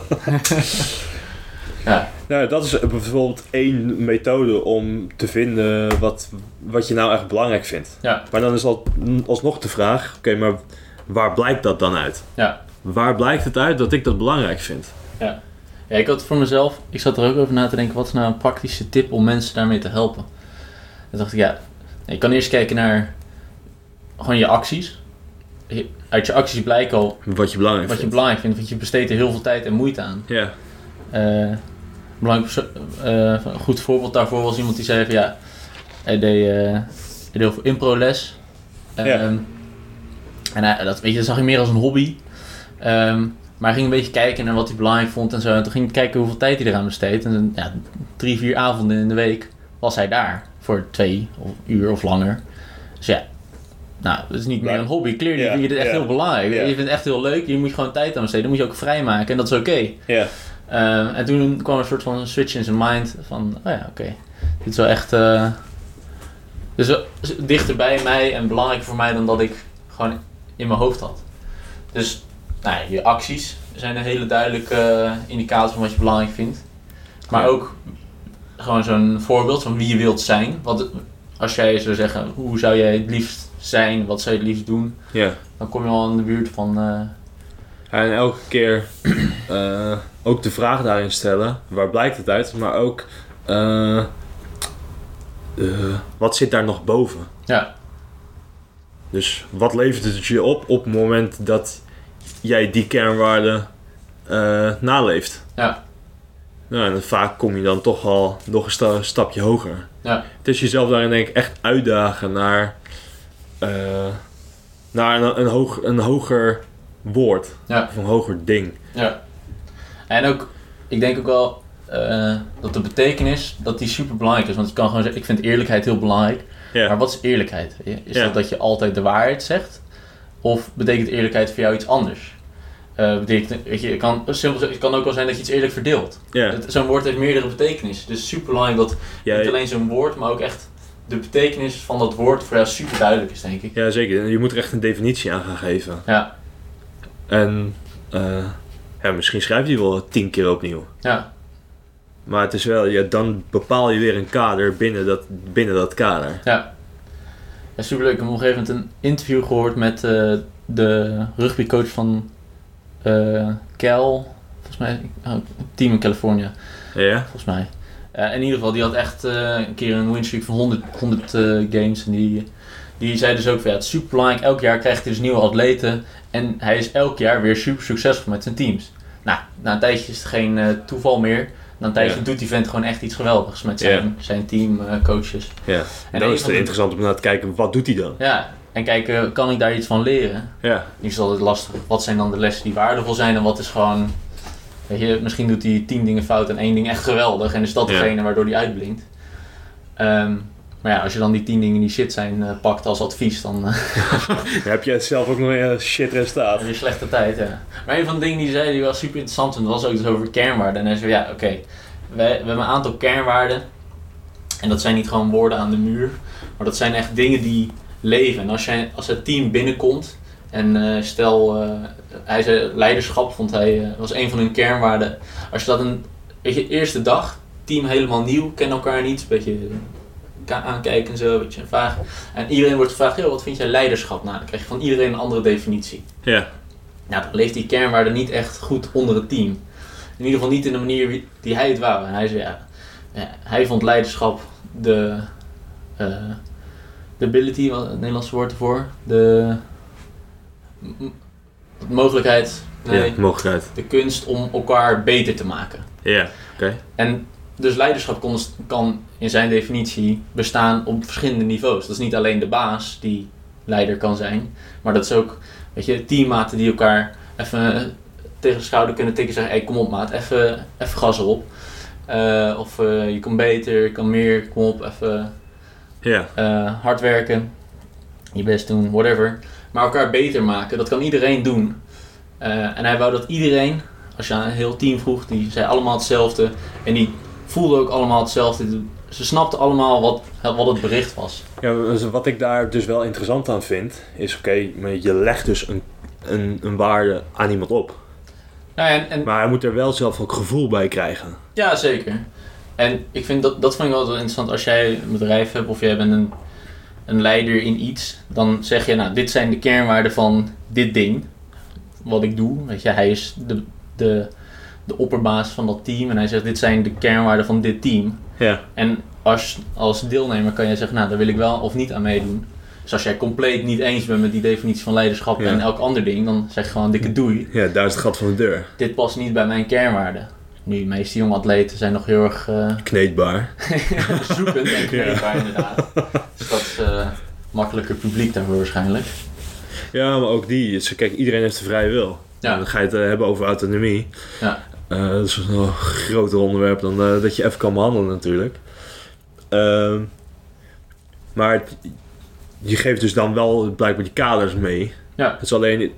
Speaker 1: Nou, dat is bijvoorbeeld één methode om te vinden wat, wat je nou echt belangrijk vindt.
Speaker 2: Ja.
Speaker 1: Maar dan is al, alsnog de vraag, oké, maar waar blijkt dat dan uit?
Speaker 2: Ja.
Speaker 1: Waar blijkt het uit dat ik dat belangrijk vind?
Speaker 2: Ja, ik had voor mezelf, ik zat er ook over na te denken, wat is nou een praktische tip om mensen daarmee te helpen? Dan dacht ik, ja, ik kan eerst kijken naar gewoon je acties. Je- Uit je acties blijkt al
Speaker 1: Wat je belangrijk
Speaker 2: wat je
Speaker 1: vindt.
Speaker 2: belangrijk vindt, want je besteedt er heel veel tijd en moeite aan.
Speaker 1: ja.
Speaker 2: Eh, eh, belangrijk perso- eh, een goed voorbeeld daarvoor was iemand die zei van ja, hij deed, eh, hij deed heel veel improles. Ehm,
Speaker 1: Ja.
Speaker 2: En hij- dat, weet je, dat zag hij meer als een hobby. Ehm, maar hij ging een beetje kijken naar wat hij belangrijk vond en zo. En toen ging hij kijken hoeveel tijd hij eraan besteedt. En dan, ja, drie, vier avonden in de week was hij daar. Voor twee of uur of langer. Dus ja, nou, dat is niet meer
Speaker 1: Maar-
Speaker 2: een hobby. Clearly
Speaker 1: Ja,
Speaker 2: vind je dit echt
Speaker 1: ja.
Speaker 2: heel belangrijk.
Speaker 1: Ja.
Speaker 2: Je vindt het echt heel leuk. Je moet gewoon tijd aan besteden. Dan moet je ook vrijmaken. En dat is oké.
Speaker 1: Ja.
Speaker 2: Eh, en toen kwam er een soort van switch in zijn mind van, oh ja, oké, dit is wel echt eh, dus wel- is dichter bij mij en belangrijker voor mij dan dat ik gewoon in mijn hoofd had. Dus nou, ja, je acties zijn een hele duidelijke eh, indicator van wat je belangrijk vindt. Maar
Speaker 1: Ja.
Speaker 2: ook gewoon zo'n voorbeeld van wie je wilt zijn. Wat, als jij zou zeggen, hoe zou jij het liefst zijn, wat zou je het liefst doen,
Speaker 1: ja.
Speaker 2: dan kom je al in de buurt van, eh,
Speaker 1: En elke keer (clears throat) eh, ook de vraag daarin stellen, waar blijkt het uit, maar ook eh, eh, wat zit daar nog boven?
Speaker 2: Ja.
Speaker 1: Dus wat levert het je op op het moment dat jij die kernwaarden eh, naleeft?
Speaker 2: Ja.
Speaker 1: Nou, en dan vaak kom je dan toch al nog een sta- stapje hoger.
Speaker 2: Ja.
Speaker 1: Het is jezelf daarin denk ik echt uitdagen naar, eh, naar een, een, hoog, een hoger woord. Of een hoger ding.
Speaker 2: En ook, ik denk ook wel eh, dat de betekenis, dat die super belangrijk is. Want je kan gewoon zeggen, ik vind eerlijkheid heel belangrijk.
Speaker 1: Ja.
Speaker 2: Maar wat is eerlijkheid? Is
Speaker 1: Ja.
Speaker 2: dat dat je altijd de waarheid zegt? Of betekent eerlijkheid voor jou iets anders? Eh, betekent, weet je, het kan, eh, simpel, gezegd, het kan ook wel zijn dat je iets eerlijk verdeelt.
Speaker 1: Ja,
Speaker 2: Het- Zo'n woord heeft meerdere betekenissen. Dus super belangrijk dat niet
Speaker 1: ja,
Speaker 2: alleen zo'n woord, maar ook echt de betekenis van dat woord voor jou super duidelijk is, denk ik.
Speaker 1: ja, zeker. Je moet er echt een definitie aan gaan geven.
Speaker 2: Ja.
Speaker 1: En eh, ja, misschien schrijf je die wel tien keer opnieuw.
Speaker 2: Ja,
Speaker 1: Maar het is wel, ja, dan bepaal je weer een kader binnen dat, binnen dat kader.
Speaker 2: ja super leuk. Ik heb op een gegeven moment een interview gehoord met eh, de rugbycoach van eh Cal, volgens mij, oh, een team in Californië.
Speaker 1: Ja?
Speaker 2: volgens mij. Eh, in ieder geval, die had echt eh, een keer een winstreak van 100, 100 eh, games. En die, die zei dus ook van ja, het is super belangrijk. Elk jaar krijgt hij dus nieuwe atleten. En hij is elk jaar weer super succesvol met zijn teams. Nou, na een tijdje is het geen eh, toeval meer. Na een tijdje
Speaker 1: Ja.
Speaker 2: doet die vent gewoon echt iets geweldigs met zijn, zijn teamcoaches.
Speaker 1: Ja. En dan
Speaker 2: een
Speaker 1: is het
Speaker 2: van de-
Speaker 1: interessant om naar te kijken, wat doet hij dan?
Speaker 2: ja, en kijken, kan ik daar iets van leren?
Speaker 1: Ja.
Speaker 2: Nu is het altijd lastig. Wat zijn dan de lessen die waardevol zijn en wat is gewoon... Weet je, misschien doet hij tien dingen fout en één ding echt geweldig. En is dat
Speaker 1: Ja.
Speaker 2: degene waardoor hij uitblinkt. Ehm, maar ja, als je dan die tien dingen die shit zijn eh, pakt als advies, dan eh,
Speaker 1: Dan heb jij zelf ook nog een shit resultaat.
Speaker 2: heb je slechte tijd. Ja. Maar een van de dingen die hij zei die wel super interessant vond, was ook dus over kernwaarden. En hij zei, ja, oké, wij, we hebben een aantal kernwaarden. En dat zijn niet gewoon woorden aan de muur, maar dat zijn echt dingen die leven. En als, jij, als het team binnenkomt, en eh, stel, eh, hij zei, leiderschap vond hij, eh, was een van hun kernwaarden. Als je dat een, weet je, eerste dag, team helemaal nieuw, kennen elkaar niet, een beetje elkaar aankijken en zo, een beetje vaag. En iedereen wordt gevraagd, "Yo, wat vind jij leiderschap? Nou, dan krijg je van iedereen een andere definitie.
Speaker 1: Ja.
Speaker 2: Nou, dan leeft die kernwaarde niet echt goed onder het team. In ieder geval niet in de manier wie- die hij het wou. En hij zei, ja, ja, hij vond leiderschap de, eh, de ability, wat het Nederlandse woord ervoor, de, m- m- de mogelijkheid, nee,
Speaker 1: Ja, mogelijkheid.
Speaker 2: de kunst om elkaar beter te maken.
Speaker 1: Ja.
Speaker 2: En dus leiderschap kon, kan in zijn definitie bestaan op verschillende niveaus. Dat is niet alleen de baas die leider kan zijn, maar dat is ook, weet je, teammaten die elkaar even eh, tegen de schouder kunnen tikken en zeggen: hey, kom op, maat, even, even gas op. Eh, of eh, je kan beter, je kan meer, kom op, even
Speaker 1: Ja.
Speaker 2: eh, hard werken, je best doen, whatever. Maar elkaar beter maken, dat kan iedereen doen. Eh, en hij wou dat iedereen, als je aan een heel team vroeg, die zei allemaal hetzelfde. En die voelden ook allemaal hetzelfde. Ze snapten allemaal wat, wat het bericht was.
Speaker 1: Ja, dus wat ik daar dus wel interessant aan vind, is oké, maar je legt dus een, een, een waarde aan iemand op.
Speaker 2: Nou ja, en, en
Speaker 1: Maar hij moet er wel zelf ook gevoel bij krijgen.
Speaker 2: Ja, zeker. En ik vind dat, dat vind ik wel altijd wel interessant. Als jij een bedrijf hebt of jij bent een, een leider in iets, dan zeg je, nou, dit zijn de kernwaarden van dit ding. Wat ik doe. Weet je, hij is de, de, de opperbaas van dat team. En hij zegt, dit zijn de kernwaarden van dit team.
Speaker 1: Ja.
Speaker 2: En als, als deelnemer kan jij zeggen, nou, daar wil ik wel of niet aan meedoen. Dus als jij compleet niet eens bent met die definitie van leiderschap
Speaker 1: Ja.
Speaker 2: en elk ander ding, dan zeg je gewoon dikke doei.
Speaker 1: Ja, daar is het gat van de deur.
Speaker 2: Dit past niet bij mijn kernwaarden. Nu, de meeste jonge atleten zijn nog heel erg eh,
Speaker 1: Kneedbaar.
Speaker 2: (laughs) zoekend en kneedbaar
Speaker 1: Ja.
Speaker 2: inderdaad. Dus dat is eh, makkelijker publiek daarvoor waarschijnlijk.
Speaker 1: Ja, maar ook die. is- Kijk, iedereen heeft de vrije wil.
Speaker 2: Ja.
Speaker 1: Dan ga je het eh, hebben over autonomie.
Speaker 2: Ja.
Speaker 1: Eh, dat is een groter onderwerp dan eh, dat je even kan behandelen natuurlijk. Ehm, maar het- je geeft dus dan wel blijkbaar die kaders mee.
Speaker 2: Ja.
Speaker 1: Het is alleen...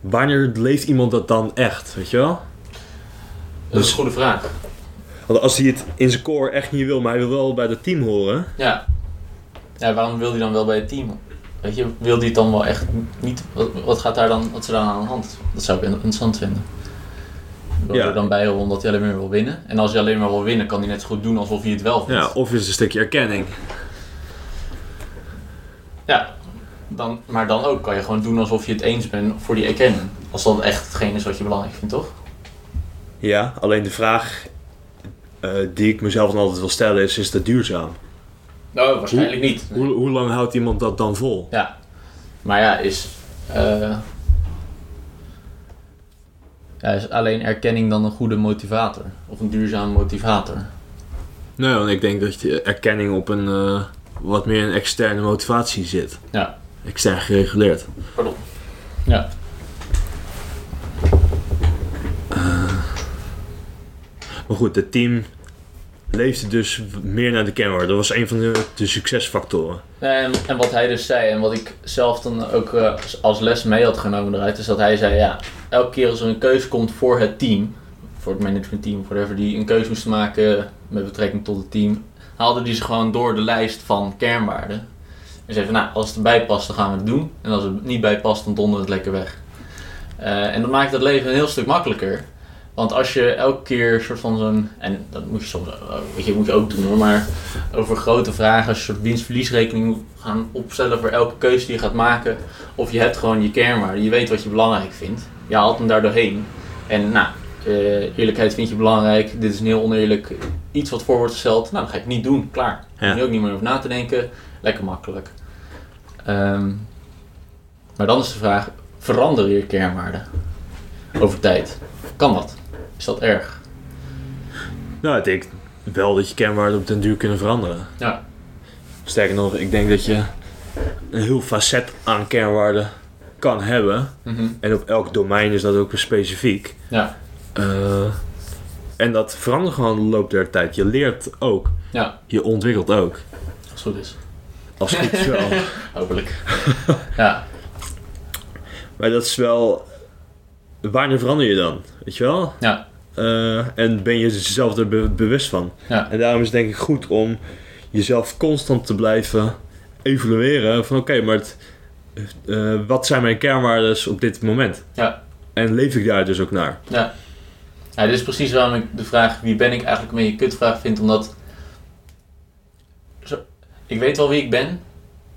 Speaker 1: Wanneer leeft iemand dat dan echt, weet je wel?
Speaker 2: Dat
Speaker 1: Dus-
Speaker 2: is een goede vraag.
Speaker 1: Want als hij het in zijn core echt niet wil, maar hij wil wel bij het team horen.
Speaker 2: Ja. ja. Waarom wil hij dan wel bij het team? Weet je, wil hij het dan wel echt niet? Wat, wat gaat daar dan, wat is er dan aan de hand? Dat zou ik interessant vinden. Wil
Speaker 1: Ja.
Speaker 2: er dan bij omdat hij alleen maar wil winnen? En als hij alleen maar wil winnen, kan hij net zo goed doen alsof hij het wel vindt.
Speaker 1: Ja, of is het een stukje erkenning.
Speaker 2: Ja, dan, maar dan ook kan je gewoon doen alsof je het eens bent voor die erkenning. Als dat echt hetgeen is wat je belangrijk vindt, toch?
Speaker 1: Ja, alleen de vraag eh, die ik mezelf dan altijd wil stellen is, is dat duurzaam?
Speaker 2: Nou, waarschijnlijk niet.
Speaker 1: Hoe, hoe lang houdt iemand dat dan vol?
Speaker 2: Ja. Maar ja, is, eh, ja, is alleen erkenning dan een goede motivator? Of een duurzame motivator?
Speaker 1: Nee, want ik denk dat de erkenning op een eh, wat meer een externe motivatie zit.
Speaker 2: Ja.
Speaker 1: Extern gereguleerd.
Speaker 2: Pardon. Ja.
Speaker 1: Maar goed, het team leefde dus meer naar de kernwaarden. Dat was een van de, de succesfactoren.
Speaker 2: En, en wat hij dus zei, en wat ik zelf dan ook eh, als les mee had genomen eruit, is dat hij zei: ja, elke keer als er een keuze komt voor het team, voor het managementteam, whatever, die een keuze moest maken met betrekking tot het team, haalde die ze gewoon door de lijst van kernwaarden. En zei van: nou, als het erbij past, dan gaan we het doen. En als het niet bij past, dan dondert het lekker weg. Eh, en dat maakt het leven een heel stuk makkelijker. Want als je elke keer soort van zo'n. En dat moet je soms eh, weet je, moet je ook doen hoor, maar over grote vragen, als je een soort winst-verliesrekening moet gaan opstellen voor elke keuze die je gaat maken. Of je hebt gewoon je kernwaarde, je weet wat je belangrijk vindt. Je haalt hem daar doorheen. En nou, eh, eerlijkheid vind je belangrijk, dit is een heel oneerlijk iets wat voor wordt gesteld. Nou, dat ga ik niet doen, klaar.
Speaker 1: Ja.
Speaker 2: Je hoef je ook niet meer over na te denken, lekker makkelijk. Ehm, maar dan is de vraag, veranderen je kernwaarden over tijd? Kan dat? Is dat erg?
Speaker 1: Nou, ik denk wel dat je kernwaarden op den duur kunnen veranderen.
Speaker 2: Ja.
Speaker 1: Sterker nog, ik denk dat je een heel facet aan kernwaarden kan hebben.
Speaker 2: Mhm.
Speaker 1: En op elk domein is dat ook weer specifiek.
Speaker 2: Ja.
Speaker 1: Eh, en dat verandert gewoon de loop der tijd. Je leert ook.
Speaker 2: Ja.
Speaker 1: Je ontwikkelt ook.
Speaker 2: Als het goed is.
Speaker 1: Als
Speaker 2: (laughs)
Speaker 1: het goed is wel.
Speaker 2: Hopelijk. ja.
Speaker 1: Maar dat is wel... Wanneer verander je dan? Weet je wel?
Speaker 2: Ja.
Speaker 1: Eh, en ben je jezelf er be- bewust van?
Speaker 2: Ja.
Speaker 1: En daarom is het denk ik goed om jezelf constant te blijven evalueren. Van oké, maar het, eh, wat zijn mijn kernwaarden op dit moment?
Speaker 2: Ja.
Speaker 1: En leef ik daar dus ook naar?
Speaker 2: Ja, dit is precies waarom ik de vraag wie ben ik eigenlijk een beetje een kutvraag vind, omdat Zo- ik weet wel wie ik ben.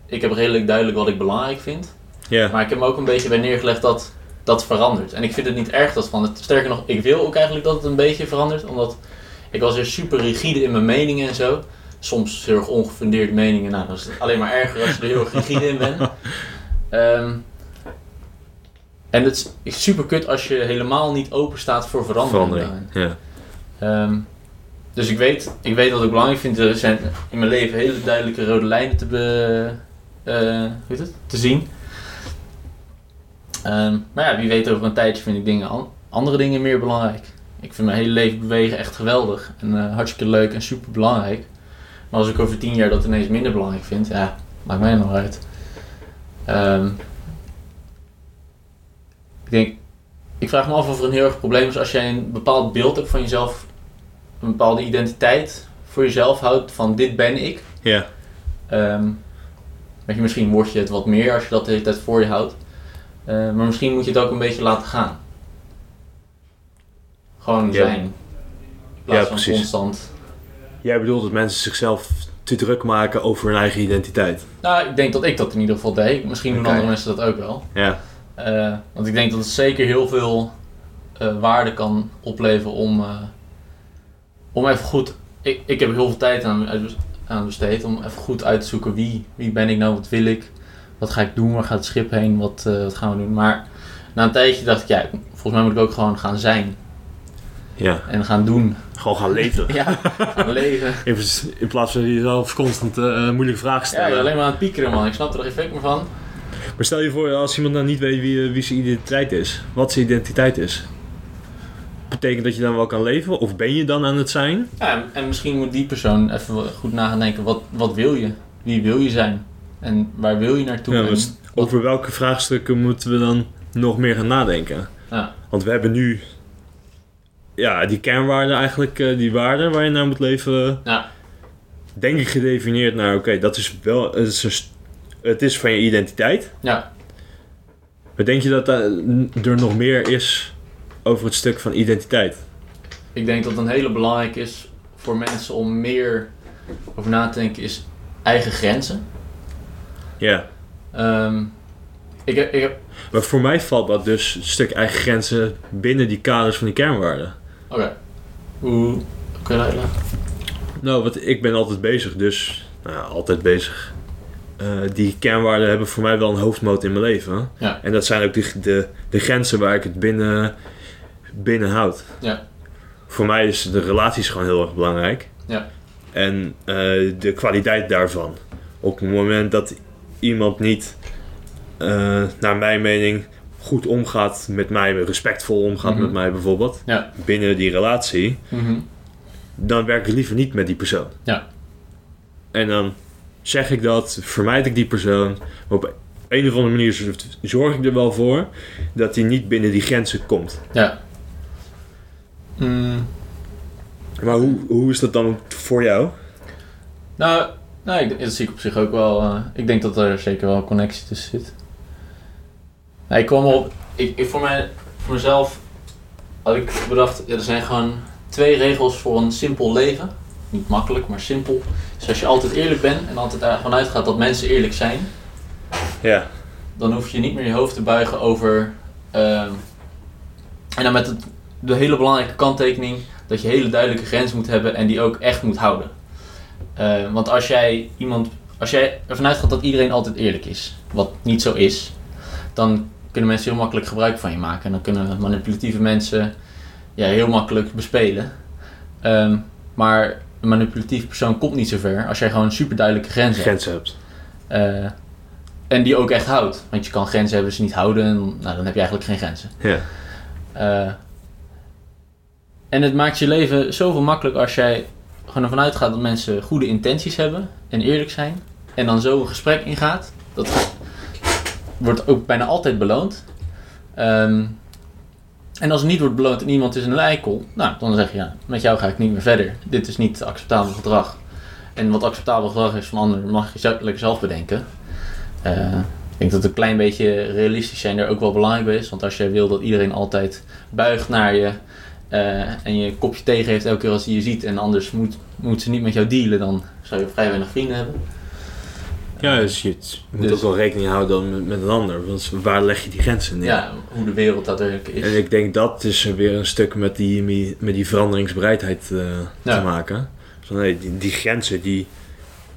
Speaker 2: Ik heb redelijk duidelijk wat ik belangrijk vind.
Speaker 1: Ja.
Speaker 2: Maar ik heb me ook een beetje bij neergelegd dat dat verandert. En ik vind het niet erg dat van het. Sterker nog, ik wil ook eigenlijk dat het een beetje verandert. Omdat ik was weer super rigide in mijn meningen en zo. Soms heel erg ongefundeerd meningen. Nou, dat is het alleen maar erger als je er heel erg rigide in bent. Ehm, en het is- is super kut als je helemaal niet open staat voor verandering.
Speaker 1: Verandering. Ja.
Speaker 2: Ehm, dus ik weet, ik weet wat ik belangrijk vind. Er zijn in mijn leven hele duidelijke rode lijnen te, be, eh, hoe heet het? te zien. Ehm, maar ja, wie weet over een tijdje vind ik dingen an- andere dingen meer belangrijk. Ik vind mijn hele leven bewegen echt geweldig. En eh, hartstikke leuk en super belangrijk. Maar als ik over tien jaar dat ineens minder belangrijk vind, ja, maakt mij nog uit. Ehm, ik denk, ik vraag me af of er een heel erg probleem is als jij een bepaald beeld hebt van jezelf, een bepaalde identiteit voor jezelf houdt van dit ben ik.
Speaker 1: Ja.
Speaker 2: Ehm, weet je, misschien word je het wat meer als je dat de hele tijd voor je houdt. Eh, maar misschien moet je het ook een beetje laten gaan. Gewoon
Speaker 1: Ja.
Speaker 2: zijn. In plaats
Speaker 1: Ja,
Speaker 2: van
Speaker 1: precies.
Speaker 2: constant.
Speaker 1: Jij bedoelt dat mensen zichzelf te druk maken over hun eigen identiteit.
Speaker 2: Nou, ik denk dat ik dat in ieder geval deed. Misschien doen
Speaker 1: Oké.
Speaker 2: andere mensen dat ook wel.
Speaker 1: Ja.
Speaker 2: Eh, want ik denk dat het zeker heel veel eh, waarde kan opleveren om, eh, om even goed. Ik, ik heb heel veel tijd aan, uit- aan besteed om even goed uit te zoeken wie, wie ben ik nou, wat wil ik, wat ga ik doen, waar gaat het schip heen, wat, eh, wat gaan we doen. Maar na een tijdje dacht ik, ja, ik- volgens mij moet ik ook gewoon gaan zijn.
Speaker 1: Ja.
Speaker 2: en gaan doen.
Speaker 1: Gewoon gaan leven.
Speaker 2: Ja, (laughs) gaan leven.
Speaker 1: In, in plaats van jezelf constant eh, eh, moeilijke vragen
Speaker 2: Ja, ik ben
Speaker 1: stellen.
Speaker 2: alleen maar aan het piekeren, man. Ik snap er geen fuck meer van.
Speaker 1: maar stel je voor, als iemand nou niet weet wie, eh, wie zijn identiteit is, wat zijn identiteit is. Betekent dat je dan wel kan leven? Of ben je dan aan het zijn?
Speaker 2: Ja, en, en misschien moet die persoon even wel goed na gaan denken. Wat, wat wil je? Wie wil je zijn? En waar wil je naartoe?
Speaker 1: Ja, dus
Speaker 2: En-
Speaker 1: maar st- over welke vraagstukken moeten we dan nog meer gaan nadenken?
Speaker 2: Ja.
Speaker 1: Want we hebben nu ja, die kernwaarden eigenlijk, eh, die waarden waar je naar moet leven,
Speaker 2: Ja.
Speaker 1: denk ik gedefinieerd naar oké, dat is wel, het is, een st- het is van je identiteit.
Speaker 2: Ja.
Speaker 1: Maar denk je dat eh, n- er nog meer is over het stuk van identiteit?
Speaker 2: Ik denk dat een hele belangrijke is voor mensen om meer over na te denken, is eigen grenzen.
Speaker 1: Ja.
Speaker 2: Ehm, ik, heb, ik heb.
Speaker 1: Maar voor mij valt dat dus het stuk eigen grenzen binnen die kaders van die kernwaarden.
Speaker 2: Oké. Hoe. Kun je dat uitleggen?
Speaker 1: Nou, want ik ben altijd bezig, dus nou, ja, altijd bezig. Eh, die kernwaarden hebben voor mij wel een hoofdmoot in mijn leven.
Speaker 2: Ja.
Speaker 1: En dat zijn ook de, de, de grenzen waar ik het binnen, binnen houd.
Speaker 2: Ja.
Speaker 1: Voor mij is de relaties gewoon heel erg belangrijk.
Speaker 2: Ja.
Speaker 1: En eh, de kwaliteit daarvan. Op het moment dat iemand niet, eh, naar mijn mening, goed omgaat met mij, respectvol omgaat
Speaker 2: Mhm.
Speaker 1: met mij bijvoorbeeld,
Speaker 2: Ja.
Speaker 1: binnen die relatie,
Speaker 2: Mhm.
Speaker 1: dan werk ik liever niet met die persoon.
Speaker 2: Ja.
Speaker 1: En dan zeg ik dat, vermijd ik die persoon. Maar op een of andere manier z- zorg ik er wel voor dat hij niet binnen die grenzen komt.
Speaker 2: Ja. Mm.
Speaker 1: Maar hoe, hoe is dat dan voor jou?
Speaker 2: Nou, nou ik, dat zie ik op zich ook wel. eh, ik denk dat er zeker wel een connectie tussen zit. Nou, ik kwam op. Ik, ik voor, mij, voor mezelf had ik bedacht, ja, er zijn gewoon twee regels voor een simpel leven. Niet makkelijk, maar simpel. Dus als je altijd eerlijk bent en altijd ervan uitgaat dat mensen eerlijk zijn,
Speaker 1: Ja,
Speaker 2: dan hoef je niet meer je hoofd te buigen over. ehm, en dan met het, de hele belangrijke kanttekening dat je hele duidelijke grens moet hebben en die ook echt moet houden. Eh, want als jij iemand. Als jij ervan uitgaat dat iedereen altijd eerlijk is, wat niet zo is, dan kunnen mensen heel makkelijk gebruik van je maken. En dan kunnen manipulatieve mensen ja, heel makkelijk bespelen. Ehm, maar een manipulatief persoon komt niet zo ver als jij gewoon super duidelijke grenzen hebt.
Speaker 1: grenzen hebt.
Speaker 2: Eh, en die ook echt houdt. Want je kan grenzen hebben, ze niet houden. En, nou, dan heb je eigenlijk geen grenzen.
Speaker 1: Ja.
Speaker 2: Eh, en het maakt je leven zoveel makkelijk als jij gewoon ervan uitgaat dat mensen goede intenties hebben en eerlijk zijn. En dan zo een gesprek ingaat. Dat ge- wordt ook bijna altijd beloond. Ehm, en als het niet wordt beloond en iemand is een eikel, nou, dan zeg je ja, met jou ga ik niet meer verder. Dit is niet acceptabel gedrag. En wat acceptabel gedrag is van anderen, mag je zelf- lekker zelf bedenken. Eh, ik denk dat een klein beetje realistisch zijn er ook wel belangrijk bij is. Want als jij wil dat iedereen altijd buigt naar je eh, en je kopje tegen heeft elke keer als hij je ziet en anders moet, moet ze niet met jou dealen, dan zou je vrij weinig vrienden hebben.
Speaker 1: Ja, dus je t- moet
Speaker 2: Dus-
Speaker 1: ook wel rekening houden dan met, met een ander. Want waar leg je die grenzen neer?
Speaker 2: Ja, hoe de wereld daadwerkelijk is.
Speaker 1: En ik denk dat is er weer een stuk met die, met die veranderingsbereidheid eh,
Speaker 2: Ja.
Speaker 1: te maken. Dus nee, die, die grenzen, die,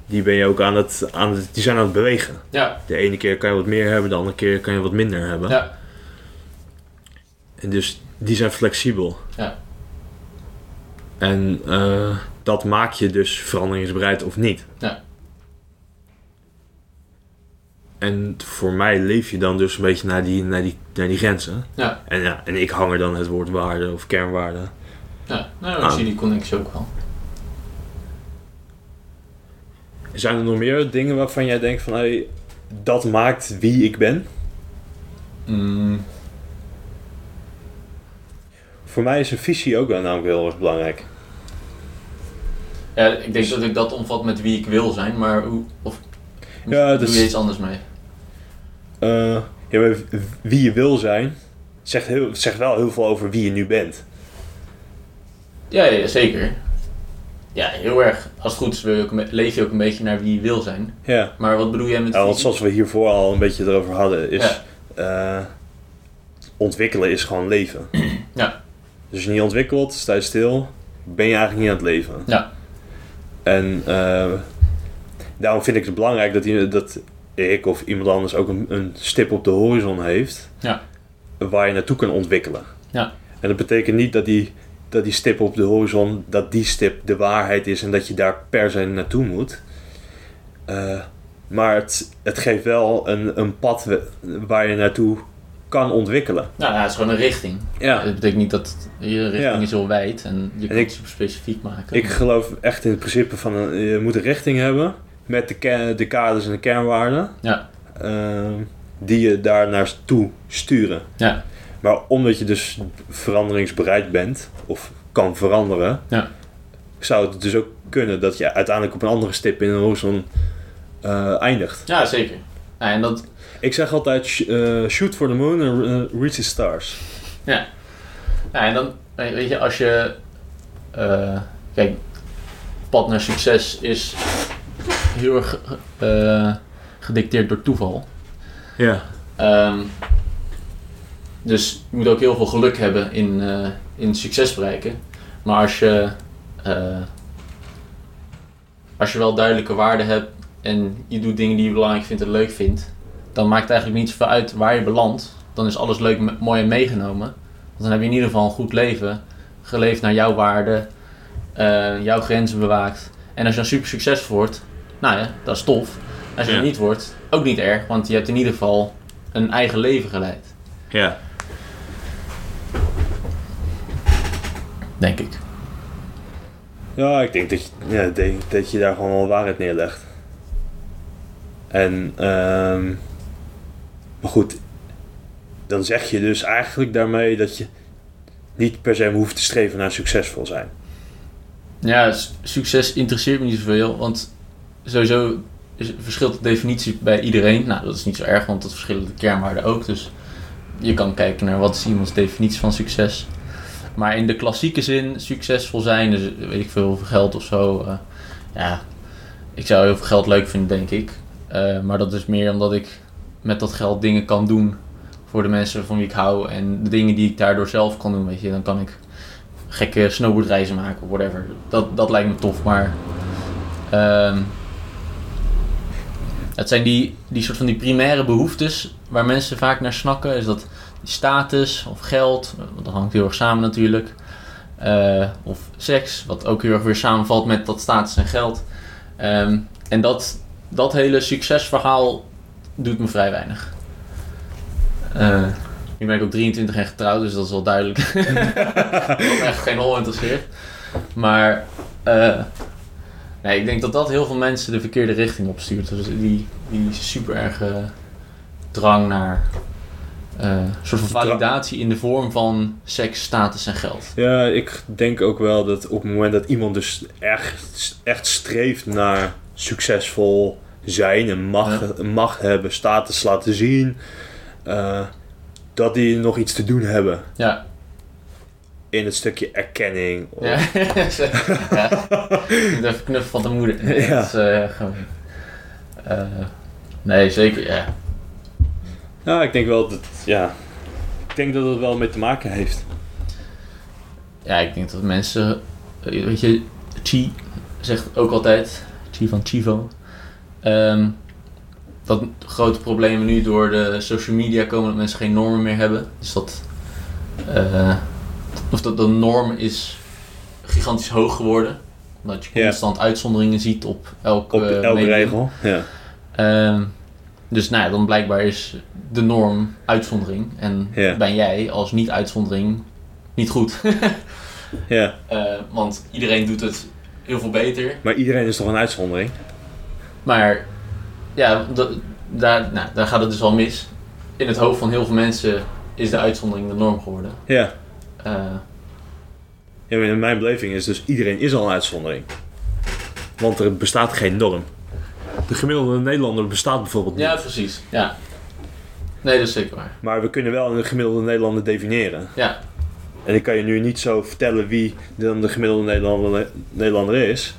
Speaker 1: die ben je ook aan het, aan het, die zijn aan het bewegen.
Speaker 2: Ja,
Speaker 1: De ene keer kan je wat meer hebben, de andere keer kan je wat minder hebben.
Speaker 2: Ja.
Speaker 1: En dus die zijn flexibel.
Speaker 2: Ja.
Speaker 1: En eh, dat maak je dus veranderingsbereid of niet.
Speaker 2: Ja.
Speaker 1: En voor mij leef je dan dus een beetje naar die, naar die, naar die grenzen.
Speaker 2: Ja.
Speaker 1: En, ja, en ik hang er dan het woord waarde of kernwaarde.
Speaker 2: ja. Nou, ik
Speaker 1: Ah.
Speaker 2: zie die connectie ook wel.
Speaker 1: Zijn er nog meer dingen waarvan jij denkt van... Hey, dat maakt wie ik ben?
Speaker 2: Mm.
Speaker 1: Voor mij is een visie ook wel namelijk heel erg belangrijk.
Speaker 2: Ja, ik denk dat ik dat omvat met wie ik wil zijn, maar hoe... Of,
Speaker 1: Ja, dus-
Speaker 2: Doe je iets anders mee?
Speaker 1: Eh, ja, maar wie je wil zijn, zegt, heel, zegt wel heel veel over wie je nu bent.
Speaker 2: Ja, ja, zeker. Ja, heel erg. Als het goed is wil je ook een be- leef je ook een beetje naar wie je wil zijn.
Speaker 1: Ja.
Speaker 2: Maar wat bedoel jij met...
Speaker 1: want zoals we hiervoor al een beetje erover hadden, is
Speaker 2: Ja.
Speaker 1: eh, ontwikkelen is gewoon leven.
Speaker 2: (clears throat) Ja.
Speaker 1: Dus als je niet ontwikkelt, sta je stil, ben je eigenlijk niet aan het leven.
Speaker 2: Ja.
Speaker 1: En eh, daarom vind ik het belangrijk dat, i- dat ik of iemand anders ook een, een stip op de horizon heeft
Speaker 2: Ja.
Speaker 1: waar je naartoe kan ontwikkelen.
Speaker 2: Ja.
Speaker 1: En dat betekent niet dat die dat die stip op de horizon, dat die stip de waarheid is en dat je daar per se naartoe moet. Eh, maar het, het geeft wel een, een pad we- waar je naartoe kan ontwikkelen.
Speaker 2: Nou ja, het is gewoon een richting.
Speaker 1: Ja,
Speaker 2: Nou, Dat betekent niet dat je richting
Speaker 1: Ja.
Speaker 2: is heel wijd en je kan
Speaker 1: ik-
Speaker 2: het super specifiek maken.
Speaker 1: ik geloof echt in het principe van een, je moet een richting hebben met de, ke- de kaders en de kernwaarden.
Speaker 2: Ja.
Speaker 1: ehm, die je daar naartoe sturen.
Speaker 2: Ja.
Speaker 1: Maar omdat je dus veranderingsbereid bent of kan veranderen,
Speaker 2: Ja.
Speaker 1: zou het dus ook kunnen dat je uiteindelijk op een andere stip in een horizon eh, eindigt.
Speaker 2: Ja, zeker. Nou, en dat,
Speaker 1: Ik zeg altijd: sh- eh, shoot for the moon and eh, reach the stars.
Speaker 2: nou, en dan weet je, als je. eh, kijk, pad naar succes is heel erg eh, gedicteerd door toeval.
Speaker 1: Ja.
Speaker 2: Ehm, dus je moet ook heel veel geluk hebben in, eh, in succes bereiken. Maar als je, eh, als je wel duidelijke waarden hebt en je doet dingen die je belangrijk vindt en leuk vindt, dan maakt het eigenlijk niet zoveel uit waar je belandt. Dan is alles leuk, en mooi en meegenomen. Want dan heb je in ieder geval een goed leven, geleefd naar jouw waarden, eh, jouw grenzen bewaakt. En als je dan super succesvol wordt, nou ja, dat is tof. Als je
Speaker 1: Ja.
Speaker 2: dat niet wordt, ook niet erg, want je hebt in ieder geval een eigen leven geleid.
Speaker 1: Ja.
Speaker 2: Denk ik.
Speaker 1: Ja, ik denk dat je, ja, ik denk dat je daar gewoon wel waarheid neerlegt. En, ehm, maar goed, dan zeg je dus eigenlijk daarmee dat je niet per se hoeft te streven naar succesvol zijn.
Speaker 2: Ja, s- succes interesseert me niet zoveel, want sowieso is, verschilt de definitie bij iedereen. Nou, dat is niet zo erg, want dat verschillen de kernwaarden ook. Dus je kan kijken naar wat is iemands definitie van succes. Maar in de klassieke zin, succesvol zijn, dus weet ik veel, heel veel geld of zo. eh, ja, ik zou heel veel geld leuk vinden, denk ik. Eh, maar dat is meer omdat ik met dat geld dingen kan doen voor de mensen van wie ik hou. En de dingen die ik daardoor zelf kan doen, weet je. Dan kan ik gekke snowboardreizen maken of whatever. Dat, dat lijkt me tof, maar... ehm, het zijn die, die soort van die primaire behoeftes waar mensen vaak naar snakken. Is dat die status of geld, want dat hangt heel erg samen natuurlijk. eh, of seks, wat ook heel erg weer samenvalt met dat status en geld. Ehm, en dat, dat hele succesverhaal doet me vrij weinig. Eh nu ben ik ook 23 en getrouwd, dus dat is wel duidelijk wat me echt geen hol interesseert. Maar eh, nee, ik denk dat dat heel veel mensen de verkeerde richting opstuurt. Dus die, die super erge drang naar eh, een soort van validatie in de vorm van seks, status en geld.
Speaker 1: Ja, ik denk ook wel dat op het moment dat iemand dus echt, echt streeft naar succesvol zijn en macht, macht hebben, status laten zien, eh, dat die nog iets te doen hebben
Speaker 2: Ja,
Speaker 1: in het stukje erkenning. of-
Speaker 2: ja. (laughs) ja. Met Even knuffel van de moeder.
Speaker 1: Ja.
Speaker 2: Dat is, eh, gewoon, eh, nee, zeker. Ja.
Speaker 1: Ja, ik denk wel dat. Ja. Ik denk dat het wel mee te maken heeft.
Speaker 2: Ja, ik denk dat mensen. eh, Weet je, Chi zegt ook altijd, Chi van Chivo, ehm, dat grote problemen nu door de social media komen dat mensen geen normen meer hebben. Dus dat. eh, of dat de norm is gigantisch hoog geworden. Omdat je
Speaker 1: Ja.
Speaker 2: constant uitzonderingen ziet op elke,
Speaker 1: Op
Speaker 2: eh,
Speaker 1: elke
Speaker 2: medium.
Speaker 1: regel. Ja.
Speaker 2: Ehm, dus nou ja, dan blijkbaar is de norm uitzondering. En
Speaker 1: Ja.
Speaker 2: ben jij als niet-uitzondering niet goed. (laughs)
Speaker 1: ja.
Speaker 2: Eh, want iedereen doet het heel veel beter.
Speaker 1: Maar iedereen is toch een uitzondering?
Speaker 2: Maar ja, da- daar, nou, daar gaat het dus al mis. In het hoofd van heel veel mensen is de uitzondering de norm geworden.
Speaker 1: Ja.
Speaker 2: Eh,
Speaker 1: ja maar in mijn beleving is dus iedereen is al een uitzondering. Want er bestaat geen norm. De gemiddelde Nederlander bestaat bijvoorbeeld niet.
Speaker 2: ja, precies. Ja. Nee, dat is zeker waar.
Speaker 1: Maar we kunnen wel een gemiddelde Nederlander definiëren.
Speaker 2: Ja.
Speaker 1: En ik kan je nu niet zo vertellen wie dan de gemiddelde Nederlander, Nederlander is.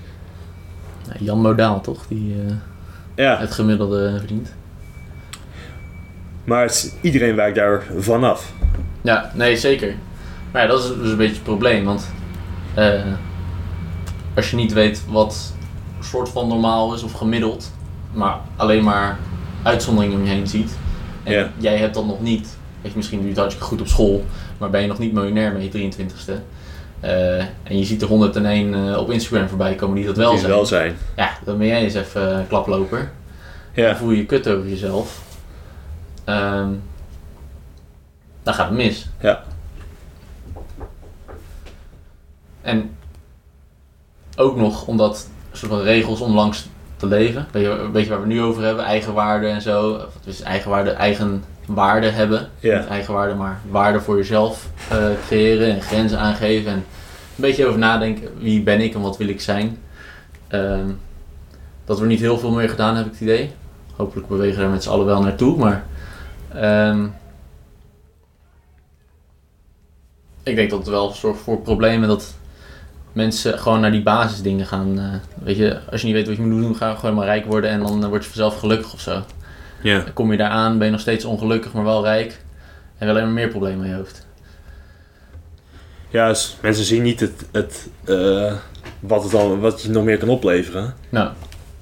Speaker 2: Nou, Jan Modaal toch? Die, eh,
Speaker 1: Ja,
Speaker 2: het gemiddelde vriend.
Speaker 1: maar het is- iedereen wijkt daar vanaf.
Speaker 2: Ja, nee, zeker. Maar ja, dat is dus een beetje het probleem. Want eh, als je niet weet wat soort van normaal is of gemiddeld, maar alleen maar uitzonderingen om je heen ziet. En
Speaker 1: Ja.
Speaker 2: jij hebt dat nog niet. Weet je, misschien doe je het hartstikke goed op school, maar ben je nog niet miljonair met je 23ste. Eh, en je ziet er 101 eh, op Instagram voorbij komen die dat wel
Speaker 1: Die
Speaker 2: zijn.
Speaker 1: wel zijn.
Speaker 2: Ja, dan ben jij eens even eh, klaploper. Dan
Speaker 1: Ja.
Speaker 2: voel je je kut over jezelf. Ehm, dan gaat het mis.
Speaker 1: Ja.
Speaker 2: En ook nog omdat soort van regels om langs te leven. Weet je, een beetje waar we nu over hebben, eigenwaarde en zo. Of het is eigenwaarde, eigen waarde hebben.
Speaker 1: Ja.
Speaker 2: Niet eigenwaarde, maar waarde voor jezelf eh, creëren en grenzen aangeven. En een beetje over nadenken, wie ben ik en wat wil ik zijn. Ehm, dat wordt niet heel veel meer gedaan, heb ik het idee. Hopelijk bewegen we daar met z'n allen wel naartoe, maar... ehm, ik denk dat het wel zorgt voor problemen dat mensen gewoon naar die basisdingen gaan. eh, weet je, als je niet weet wat je moet doen, ga je gewoon maar rijk worden en dan eh, word je vanzelf gelukkig of zo.
Speaker 1: Ja.
Speaker 2: Dan kom je daar aan, ben je nog steeds ongelukkig, maar wel rijk. En wel alleen maar meer problemen in je hoofd.
Speaker 1: Ja, dus mensen zien niet het, het, eh, wat, het al, wat je nog meer kan opleveren.
Speaker 2: Nou,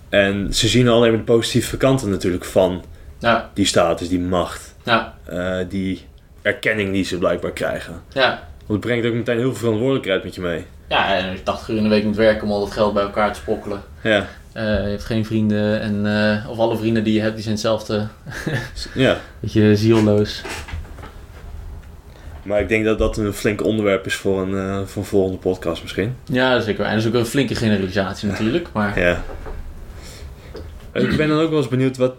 Speaker 1: En ze zien alleen maar de positieve kanten natuurlijk van
Speaker 2: nou,
Speaker 1: die status, die macht,
Speaker 2: nou,
Speaker 1: eh, die erkenning die ze blijkbaar krijgen.
Speaker 2: ja.
Speaker 1: Want het brengt ook meteen heel veel verantwoordelijkheid met je mee.
Speaker 2: Ja, en als je 80 uur in de week moet werken om al dat geld bij elkaar te sprokkelen.
Speaker 1: Ja,
Speaker 2: Eh, je hebt geen vrienden en, eh, of alle vrienden die je hebt, die zijn hetzelfde.
Speaker 1: ja.
Speaker 2: Beetje zielloos.
Speaker 1: Maar ik denk dat dat een flink onderwerp is voor een, eh, voor een volgende podcast misschien.
Speaker 2: Ja, zeker. En dat is ook een flinke generalisatie natuurlijk, maar...
Speaker 1: Ja. Eh, Ik ben dan ook wel eens benieuwd, wat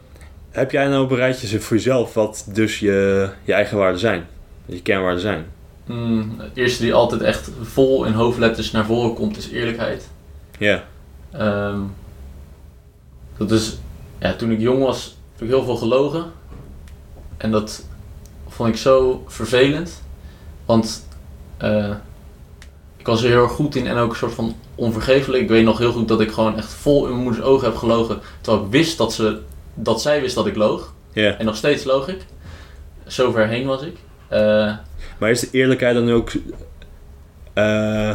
Speaker 1: heb jij nou op een rijtje zitten voor jezelf wat dus je, je eigen waarden zijn? Je kernwaarden zijn?
Speaker 2: Mm, het eerste die altijd echt vol in hoofdletters naar voren komt is eerlijkheid.
Speaker 1: Ja,
Speaker 2: Ehm, dat is, ja, toen ik jong was, heb ik heel veel gelogen. En dat vond ik zo vervelend. Want eh, ik was er heel erg goed in en ook een soort van onvergeeflijk. Ik weet nog heel goed dat ik gewoon echt vol in mijn moeders ogen heb gelogen. Terwijl ik wist dat, ze, dat zij wist dat ik loog.
Speaker 1: ja.
Speaker 2: En nog steeds loog ik. Zo ver heen was ik. Eh,
Speaker 1: Maar is de eerlijkheid dan ook eh,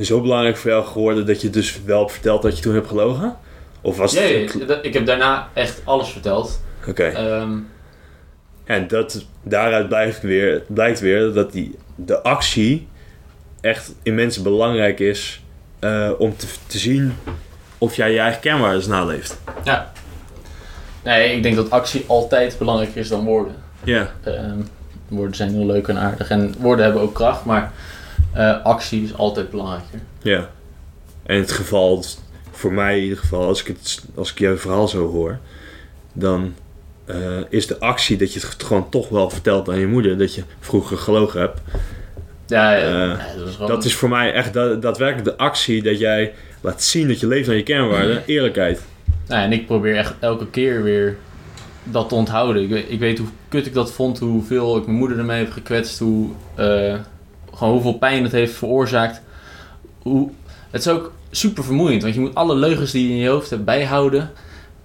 Speaker 1: zo belangrijk voor jou geworden dat je dus wel hebt verteld dat je toen hebt gelogen? Of was
Speaker 2: ja, ja,
Speaker 1: het...
Speaker 2: ja. ik heb daarna echt alles verteld.
Speaker 1: Oké.
Speaker 2: Ehm,
Speaker 1: En dat, daaruit blijkt weer, blijkt weer dat die, de actie echt immens belangrijk is eh, om te, te zien of jij je eigen kernwaarden naleeft.
Speaker 2: nee, ik denk dat actie altijd belangrijker is dan woorden.
Speaker 1: Ja.
Speaker 2: Ehm, woorden zijn heel leuk en aardig en woorden hebben ook kracht, maar eh, actie is altijd belangrijker.
Speaker 1: Ja. En in het geval, voor mij in ieder geval, als ik, het, als ik jouw verhaal zo hoor, dan eh, is de actie dat je het gewoon toch wel vertelt aan je moeder dat je vroeger gelogen hebt.
Speaker 2: Ja, ja,
Speaker 1: Eh,
Speaker 2: ja, dat is gewoon...
Speaker 1: Dat is voor mij echt da- daadwerkelijk de actie dat jij laat zien dat je leeft naar je kernwaarden. Eerlijkheid.
Speaker 2: Nou, en ik probeer echt elke keer weer dat te onthouden. Ik weet, ik weet hoe kut ik dat vond, hoeveel ik mijn moeder ermee heb gekwetst, hoe, eh, gewoon hoeveel pijn het heeft veroorzaakt. Hoe, het is ook super vermoeiend, want je moet alle leugens die je in je hoofd hebt bijhouden.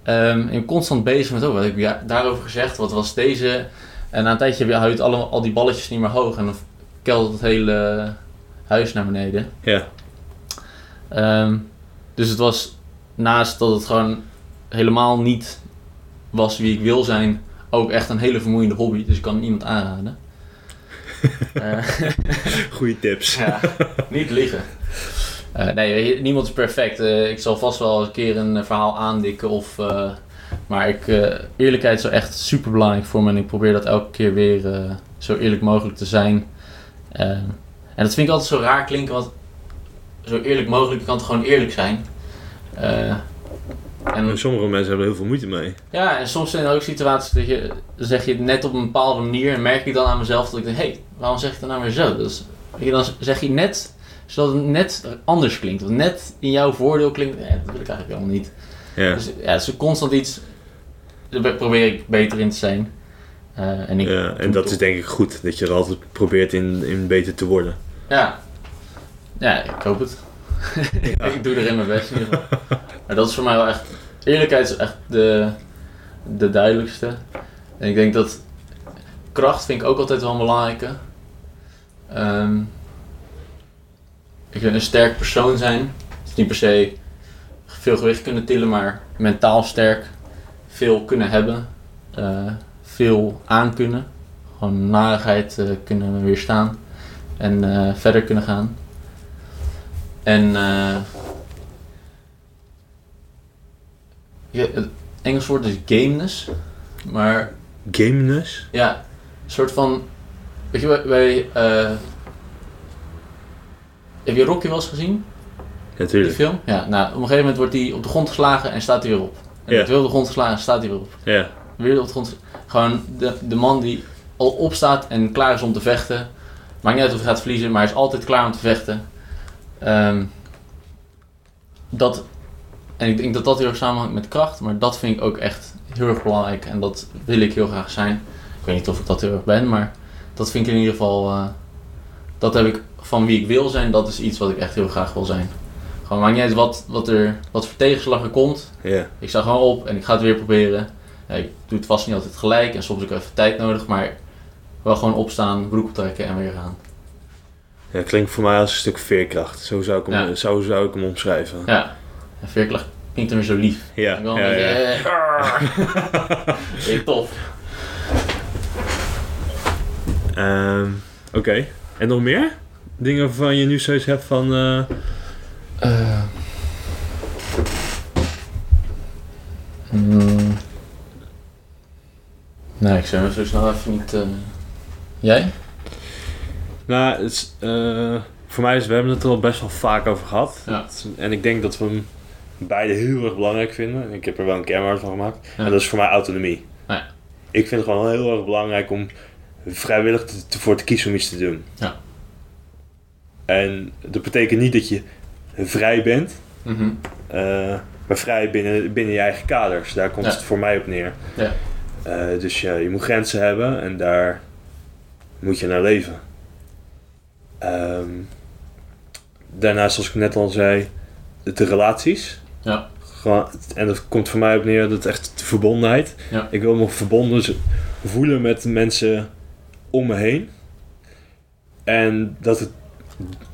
Speaker 2: Ehm, en je bent constant bezig met, oh, wat heb ik ja- daarover gezegd, wat was deze? En na een tijdje heb je- hou je het allemaal, al die balletjes niet meer hoog en dan keldert het hele huis naar beneden.
Speaker 1: Ja.
Speaker 2: Ehm, dus het was naast dat het gewoon helemaal niet was wie ik wil zijn, ook echt een hele vermoeiende hobby. Dus ik kan niemand aanraden. Eh,
Speaker 1: Goede tips.
Speaker 2: ja, niet liegen. Eh, nee, weet je, niemand is perfect. Eh, ik zal vast wel een keer een eh, verhaal aandikken. Of, eh, maar ik, eh, eerlijkheid is wel echt super belangrijk voor me. En ik probeer dat elke keer weer eh, zo eerlijk mogelijk te zijn. Eh, en dat vind ik altijd zo raar klinken. Want zo eerlijk mogelijk je kan het gewoon eerlijk zijn. Eh, en
Speaker 1: En sommige mensen hebben er heel veel moeite mee.
Speaker 2: ja, en soms zijn er ook situaties dat je zeg je het net op een bepaalde manier en merk ik dan aan mezelf dat ik denk, hé, hey, waarom zeg ik dat nou weer zo? Dus, weet je, dan zeg je net, zodat het net anders klinkt, of net in jouw voordeel klinkt, nee, dat wil ik eigenlijk helemaal niet.
Speaker 1: Ja.
Speaker 2: Dus ja, het is constant iets, daar be- probeer ik beter in te zijn. Eh, en ik
Speaker 1: Ja,
Speaker 2: doe
Speaker 1: en dat
Speaker 2: het
Speaker 1: is denk ik goed, dat je er altijd probeert in, in beter te worden.
Speaker 2: op- Ja. ja, ik hoop het. ik doe erin mijn best in ieder geval. Maar dat is voor mij wel echt, eerlijkheid is echt de, de duidelijkste. En ik denk dat kracht vind ik ook altijd wel een belangrijke. Ehm, ik vind een sterk persoon zijn. Het is niet per se veel gewicht kunnen tillen, maar mentaal sterk. Veel kunnen hebben. eh, veel aan kunnen. Gewoon narigheid eh, kunnen weerstaan. En eh, verder kunnen gaan. En eh, ja, het Engels woord is gameness. Maar
Speaker 1: Gameness?
Speaker 2: ja, een soort van. Weet je, wij. wij, eh, heb je Rocky wel eens gezien? Die
Speaker 1: Natuurlijk.
Speaker 2: film? Ja, nou, op een gegeven moment wordt hij op de grond geslagen en staat hij weer op. En
Speaker 1: Ja.
Speaker 2: wordt weer op de grond geslagen en staat hij weer op.
Speaker 1: Ja.
Speaker 2: Weer op de grond. Gewoon de, de man die al opstaat en klaar is om te vechten. Maakt niet uit of hij gaat verliezen, maar hij is altijd klaar om te vechten. Ehm, dat, en ik denk dat dat heel erg samenhangt met kracht, maar dat vind ik ook echt heel erg belangrijk. En dat wil ik heel graag zijn. Ik weet niet of ik dat heel erg ben, maar dat vind ik in ieder geval. eh, dat heb ik van wie ik wil zijn, dat is iets wat ik echt heel graag wil zijn. Gewoon maakt niet uit wat, wat, er, wat voor tegenslag er komt.
Speaker 1: Ja.
Speaker 2: Ik sta gewoon op en ik ga het weer proberen. Ja, ik doe het vast niet altijd gelijk en soms heb ik even tijd nodig, maar wel gewoon opstaan, broek optrekken en weer gaan.
Speaker 1: ja. Klinkt voor mij als een stuk veerkracht. Zo zou ik hem,
Speaker 2: Ja.
Speaker 1: zo zou ik hem omschrijven.
Speaker 2: Ja, en veerkracht klinkt er weer zo lief.
Speaker 1: Ja.
Speaker 2: Ik wil
Speaker 1: ja,
Speaker 2: een beetje,
Speaker 1: ja.
Speaker 2: eh, (laughs) arr. Vind ik tof.
Speaker 1: Ehm, Oké. En nog meer? Dingen waarvan je nu zoiets hebt van... eh,
Speaker 2: Eh. Mm. Nee, ik zou zo snel even niet. eh, Jij?
Speaker 1: nou, het is, eh, voor mij is... We hebben het er al best wel vaak over gehad.
Speaker 2: Ja.
Speaker 1: En ik denk dat we hem beide heel erg belangrijk vinden. Ik heb er wel een kernwaarde van gemaakt.
Speaker 2: Ja.
Speaker 1: En dat is voor mij autonomie.
Speaker 2: Ja.
Speaker 1: Ik vind het gewoon heel erg belangrijk om vrijwillig te, te- voor te kiezen om iets te doen.
Speaker 2: Ja.
Speaker 1: En dat betekent niet dat je vrij bent.
Speaker 2: Mhm.
Speaker 1: eh, maar vrij binnen, binnen je eigen kaders. Daar komt
Speaker 2: Ja.
Speaker 1: het voor mij op neer.
Speaker 2: Ja.
Speaker 1: Eh, dus ja, je moet grenzen hebben en daar moet je naar leven. Ehm, daarnaast, zoals ik net al zei, de, de relaties.
Speaker 2: Ja.
Speaker 1: Gewoon- en dat komt voor mij op neer, dat is echt de verbondenheid.
Speaker 2: Ja.
Speaker 1: Ik wil me verbonden z- voelen met mensen om me heen. En dat het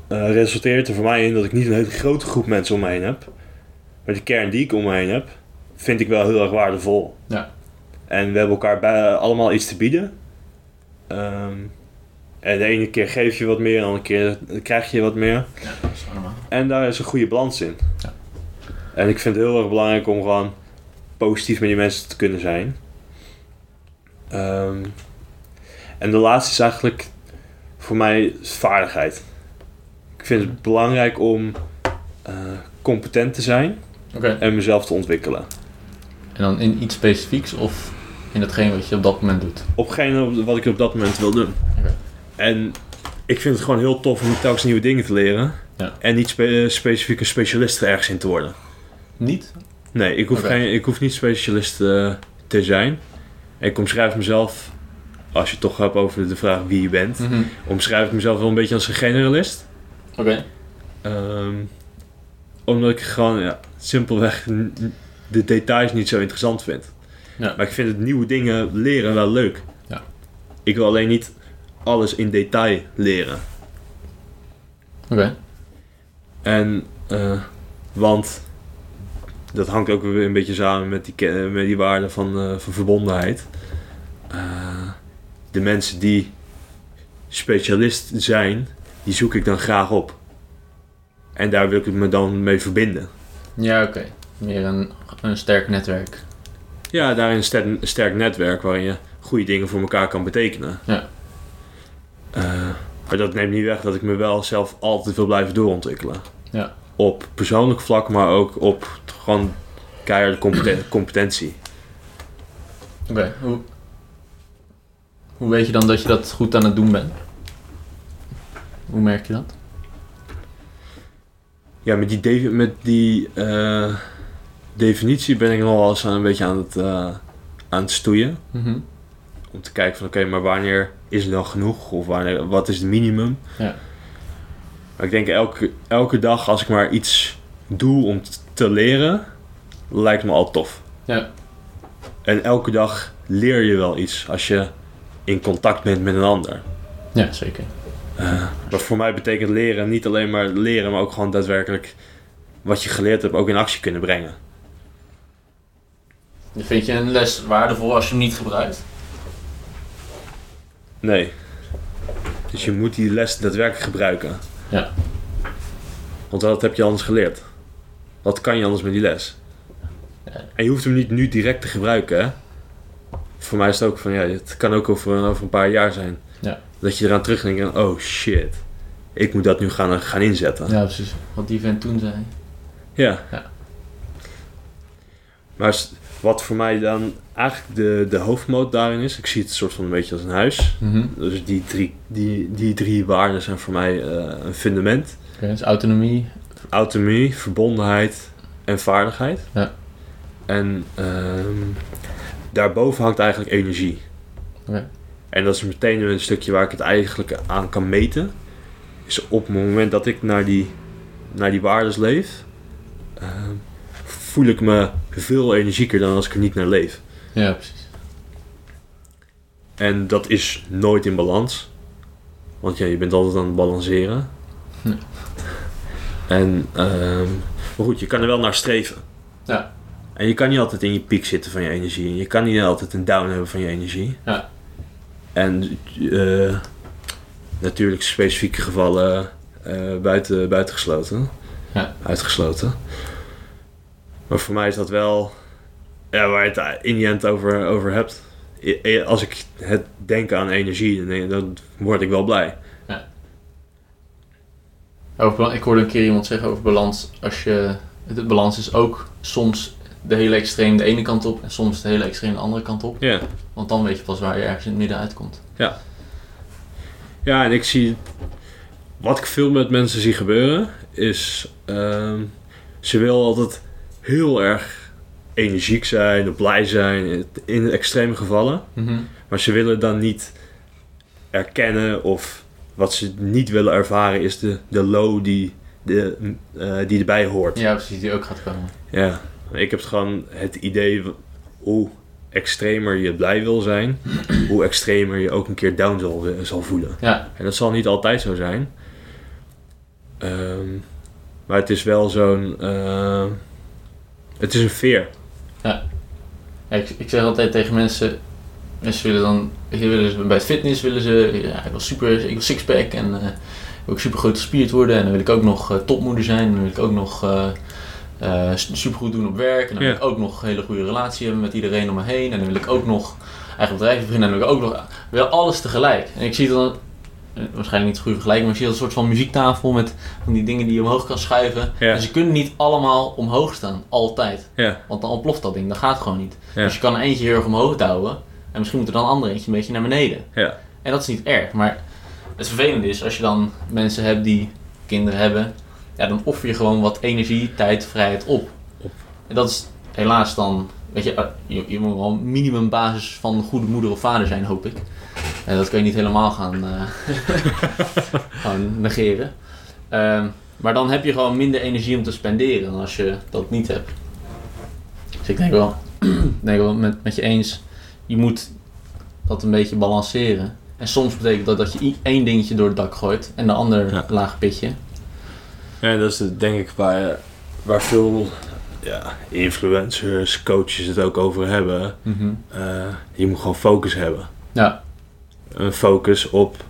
Speaker 1: eh, resulteert er voor mij in dat ik niet een hele grote groep mensen om me heen heb. Maar de kern die ik om me heen heb, vind ik wel heel erg waardevol.
Speaker 2: Ja.
Speaker 1: En we hebben elkaar bij, eh, allemaal iets te bieden. Ehm, en de ene keer geef je wat meer, en de andere keer krijg je wat meer.
Speaker 2: Ja, dat is wel normaal.
Speaker 1: En daar is een goede balans in.
Speaker 2: Ja.
Speaker 1: En ik vind het heel erg belangrijk om gewoon positief met die mensen te kunnen zijn. Ehm, en de laatste is eigenlijk voor mij vaardigheid. Ik vind het belangrijk om eh, competent te zijn
Speaker 2: Oké.
Speaker 1: en mezelf te ontwikkelen.
Speaker 2: En dan in iets specifieks of in datgene wat je op dat moment doet.
Speaker 1: Opgene wat ik op dat moment wil doen.
Speaker 2: Oké.
Speaker 1: En ik vind het gewoon heel tof om telkens nieuwe dingen te leren.
Speaker 2: Ja.
Speaker 1: En niet spe- specifiek een specialist ergens in te worden.
Speaker 2: Niet?
Speaker 1: Nee, ik hoef,
Speaker 2: Oké.
Speaker 1: geen, ik hoef niet specialist eh, te zijn. Ik omschrijf mezelf, als je het toch hebt over de vraag wie je
Speaker 2: Hm.
Speaker 1: bent,
Speaker 2: Mhm.
Speaker 1: omschrijf ik mezelf wel een beetje als een generalist.
Speaker 2: Oké.
Speaker 1: Ehm, omdat ik gewoon ja, simpelweg n- n- de details niet zo interessant vind.
Speaker 2: Ja.
Speaker 1: Maar ik vind het nieuwe dingen leren wel leuk.
Speaker 2: Ja.
Speaker 1: Ik wil alleen niet alles in detail leren.
Speaker 2: Oké.
Speaker 1: En, eh, want dat hangt ook weer een beetje samen met die, ke- met die waarde van, eh, van verbondenheid. Eh, de mensen die specialist zijn, die zoek ik dan graag op. En daar wil ik me dan mee verbinden.
Speaker 2: Ja, oké. Meer een, een sterk netwerk.
Speaker 1: Ja, daarin een ster- een sterk netwerk waarin je goede dingen voor elkaar kan betekenen.
Speaker 2: Ja.
Speaker 1: Eh, maar dat neemt niet weg dat ik me wel zelf altijd wil blijven doorontwikkelen.
Speaker 2: Ja.
Speaker 1: Op persoonlijk vlak, maar ook op t- gewoon keiharde
Speaker 2: (clears throat)
Speaker 1: competen- competentie.
Speaker 2: Oké. Hoe, hoe weet je dan dat je dat goed aan het doen bent? Hoe merk je dat?
Speaker 1: Ja, met die, defi- met die eh, definitie ben ik nog wel eens aan een beetje aan het, eh, aan het stoeien.
Speaker 2: Mhm.
Speaker 1: om te kijken van oké, maar wanneer is het dan genoeg? Of wanneer, wat is het minimum?
Speaker 2: Ja.
Speaker 1: Maar ik denk elke, elke dag als ik maar iets doe om t- te leren, lijkt me al tof.
Speaker 2: Ja.
Speaker 1: En elke dag leer je wel iets als je in contact bent met een ander.
Speaker 2: Ja, zeker.
Speaker 1: Maar voor mij betekent leren niet alleen maar leren, maar ook gewoon daadwerkelijk wat je geleerd hebt ook in actie kunnen brengen.
Speaker 2: Vind je een les waardevol als je hem niet gebruikt?
Speaker 1: Nee. Dus je moet die les daadwerkelijk gebruiken.
Speaker 2: Ja.
Speaker 1: Want wat heb je anders geleerd? Wat kan je anders met die les?
Speaker 2: Ja.
Speaker 1: En je hoeft hem niet nu direct te gebruiken, hè? Voor mij is het ook van, ja, het kan ook over, over een paar jaar zijn.
Speaker 2: Ja.
Speaker 1: Dat je eraan terugdenkt en, oh shit, ik moet dat nu gaan, gaan inzetten.
Speaker 2: Ja, precies. Wat die vent toen zei.
Speaker 1: Ja.
Speaker 2: Ja.
Speaker 1: Maar s- wat voor mij dan eigenlijk de, de hoofdmoot daarin is, ik zie het soort van een beetje als een huis.
Speaker 2: Mhm.
Speaker 1: Dus die drie, die, die drie waarden zijn voor mij eh, een fundament.
Speaker 2: Oké, dus autonomie.
Speaker 1: Autonomie, verbondenheid en vaardigheid.
Speaker 2: Ja.
Speaker 1: En ehm, daarboven hangt eigenlijk energie.
Speaker 2: Oké.
Speaker 1: En dat is meteen een stukje waar ik het eigenlijk aan kan meten. Is op het moment dat ik naar die, naar die waardes leef, ehm, voel ik me veel energieker dan als ik er niet naar leef.
Speaker 2: Ja, precies.
Speaker 1: En dat is nooit in balans. Want ja, je bent altijd aan het balanceren.
Speaker 2: Ja.
Speaker 1: En, ehm, maar goed, je kan er wel naar streven.
Speaker 2: Ja.
Speaker 1: En je kan niet altijd in je piek zitten van je energie. En je kan niet altijd een down hebben van je energie.
Speaker 2: Ja.
Speaker 1: En eh, natuurlijk specifieke gevallen eh, buiten, buitengesloten.
Speaker 2: Ja.
Speaker 1: Uitgesloten. Maar voor mij is dat wel ja, waar je het in je end over, over hebt. I- i- als ik het denk aan energie, dan, denk ik- dan word ik wel blij.
Speaker 2: Over, bal- ik hoorde een keer iemand zeggen over balans. Als je, het balans is ook soms de hele extreem de ene kant op en soms de hele extreem de andere kant op.
Speaker 1: Ja.
Speaker 2: Want dan weet je pas waar je ergens in het midden uitkomt.
Speaker 1: ja, en ik zie... Wat ik veel met mensen zie gebeuren, is... ehm, ze willen altijd heel erg energiek zijn, of blij zijn, in het- in de extreme gevallen.
Speaker 2: Mhm.
Speaker 1: Maar ze willen dan niet erkennen of wat ze niet willen ervaren is de, de low die, de, eh, die erbij hoort.
Speaker 2: Ja, precies, die ook gaat komen.
Speaker 1: Ja, ik heb gewoon het idee w- hoe extremer je blij wil zijn, (clears throat) hoe extremer je ook een keer down zal, zal voelen.
Speaker 2: Ja.
Speaker 1: En dat zal niet altijd zo zijn. Ehm, maar het is wel zo'n. ehm, het is een veer.
Speaker 2: Ja, ik, ik zeg altijd tegen mensen, mensen willen dan, hier willen ze, bij fitness willen ze, ja, ik wil super, ik wil sixpack en eh, ik wil super goed gespierd worden en dan wil ik ook nog eh, topmoeder zijn en dan wil ik ook nog eh, eh, s- supergoed doen op werk en dan
Speaker 1: Ja.
Speaker 2: wil ik ook nog een hele goede relatie hebben met iedereen om me heen en dan wil ik ook nog eigen bedrijf beginnen en dan wil ik ook nog, wel alles tegelijk. En ik zie dan, eh, waarschijnlijk niet het goede vergelijking, maar ik zie dat een soort van muziektafel met van die dingen die je omhoog kan schuiven.
Speaker 1: Ja.
Speaker 2: En ze kunnen niet allemaal omhoog staan, altijd.
Speaker 1: Ja.
Speaker 2: Want dan ontploft dat ding, dat gaat gewoon niet.
Speaker 1: Ja.
Speaker 2: Dus je kan er eentje heel erg omhoog duwen. En misschien moet er dan een ander eentje een beetje naar beneden.
Speaker 1: Ja.
Speaker 2: En dat is niet erg. Maar het vervelende is als je dan mensen hebt die kinderen hebben. Ja, dan offer je gewoon wat energie, tijd, vrijheid op.
Speaker 1: Op.
Speaker 2: En dat is helaas dan... Weet je, eh, je, je moet wel een minimumbasis van een goede moeder of vader zijn, hoop ik. En dat kun je niet helemaal gaan,
Speaker 1: (laughs)
Speaker 2: eh, gaan negeren. Ehm, maar dan heb je gewoon minder energie om te spenderen dan als je dat niet hebt. Dus ik denk wel, (clears throat) ik denk wel met, met je eens, je moet dat een beetje balanceren. En soms betekent dat dat je i- één dingetje door het dak gooit en de ander
Speaker 1: Ja.
Speaker 2: laag pitje.
Speaker 1: Ja, dat is het, denk ik waar, waar veel ja, influencers, coaches het ook over hebben. Eh, je moet gewoon focus hebben.
Speaker 2: Ja.
Speaker 1: Een focus op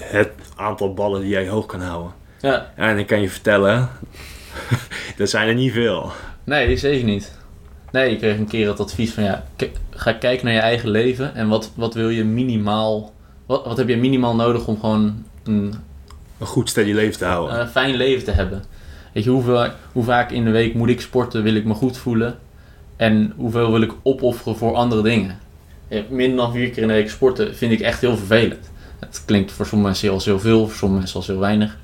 Speaker 1: het aantal ballen die jij hoog kan houden.
Speaker 2: Ja,
Speaker 1: En ik kan je vertellen, (laughs) dat zijn er niet veel.
Speaker 2: nee, zeker niet. Nee, ik kreeg een keer het advies van ja, k- ga kijken naar je eigen leven en wat, wat wil je minimaal, wat, wat heb je minimaal nodig om gewoon een
Speaker 1: Een goed steady leven te houden.
Speaker 2: een Eh, fijn leven te hebben. Weet je, hoeveel, hoe vaak in de week moet ik sporten, wil ik me goed voelen? En hoeveel wil ik opofferen voor andere dingen? Ja, Minder dan vier keer in de week sporten vind ik echt heel vervelend. Het klinkt voor sommige mensen als heel veel, voor sommige mensen als heel weinig.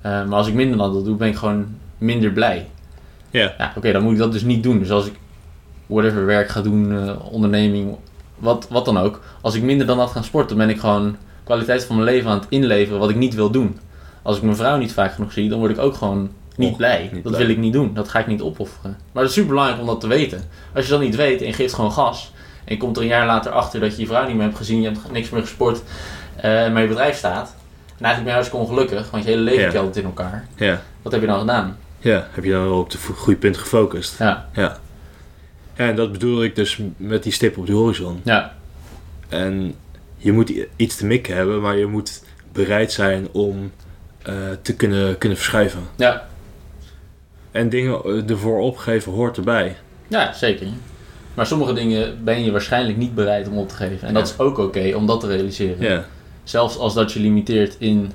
Speaker 2: Eh, maar als ik minder dan dat doe, ben ik gewoon minder blij.
Speaker 1: Ja.
Speaker 2: ja Oké, dan moet ik dat dus niet doen. Dus als ik whatever werk ga doen, eh, onderneming, wat, wat dan ook. Als ik minder dan dat ga sporten, ben ik gewoon kwaliteit van mijn leven aan het inleveren wat ik niet wil doen. Als ik mijn vrouw niet vaak genoeg zie, dan word ik ook gewoon niet
Speaker 1: Och,
Speaker 2: blij.
Speaker 1: niet
Speaker 2: dat
Speaker 1: blij.
Speaker 2: wil ik niet doen. Dat ga ik niet opofferen. Maar het is super belangrijk om dat te weten. Als je dat niet weet en je geeft gewoon gas. En je komt er een jaar later achter dat je je vrouw niet meer hebt gezien. Je hebt niks meer gesport. eh maar je bedrijf staat. En eigenlijk ben je hartstikke ongelukkig. Want je hele leven
Speaker 1: Ja.
Speaker 2: telt het in elkaar.
Speaker 1: Ja.
Speaker 2: Wat heb je dan gedaan?
Speaker 1: ja, heb je dan wel op de vo- goede punt gefocust.
Speaker 2: Ja.
Speaker 1: Ja, en dat bedoel ik dus met die stip op de horizon.
Speaker 2: Ja.
Speaker 1: En je moet i- iets te mikken hebben, maar je moet bereid zijn om eh, eh, te kunnen, kunnen verschuiven.
Speaker 2: Ja.
Speaker 1: En dingen eh, ervoor opgeven hoort erbij.
Speaker 2: Ja, zeker. Maar sommige dingen ben je waarschijnlijk niet bereid om op te geven. En dat is ook oké om dat te realiseren.
Speaker 1: Ja,
Speaker 2: Zelfs als dat je limiteert in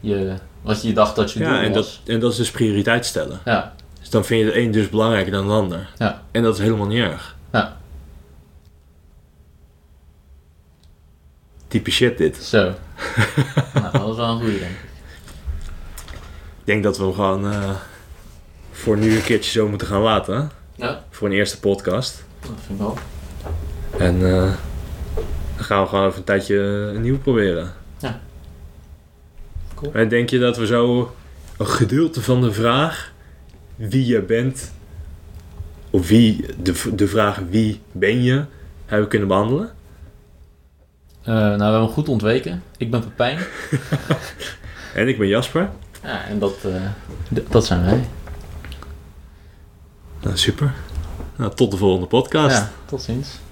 Speaker 2: je, wat je dacht dat je
Speaker 1: ja
Speaker 2: doel
Speaker 1: en, dat,
Speaker 2: was.
Speaker 1: en dat is dus prioriteit stellen.
Speaker 2: Ja.
Speaker 1: Dus dan vind je de een dus belangrijker dan de ander.
Speaker 2: Ja.
Speaker 1: En dat is helemaal niet erg.
Speaker 2: Ja.
Speaker 1: Typisch shit dit.
Speaker 2: Zo. nou, dat is wel een goede denk ik.
Speaker 1: Ik denk dat we hem gewoon eh, voor nu een keertje zo moeten gaan laten. hè?
Speaker 2: Ja.
Speaker 1: Voor een eerste podcast.
Speaker 2: Dat vind ik wel.
Speaker 1: En eh, dan gaan we gewoon even een tijdje eh, een nieuw proberen.
Speaker 2: Ja. Cool.
Speaker 1: En denk je dat we zo een gedeelte van de vraag wie je bent, of wie de, v- de vraag wie ben je, hebben kunnen behandelen?
Speaker 2: Eh, nou, we hebben hem goed ontweken. Ik ben Pepijn.
Speaker 1: En ik ben Jasper.
Speaker 2: Ja, en dat, eh, d- dat zijn wij.
Speaker 1: Nou, super. Nou, tot de volgende podcast.
Speaker 2: Ja, tot ziens.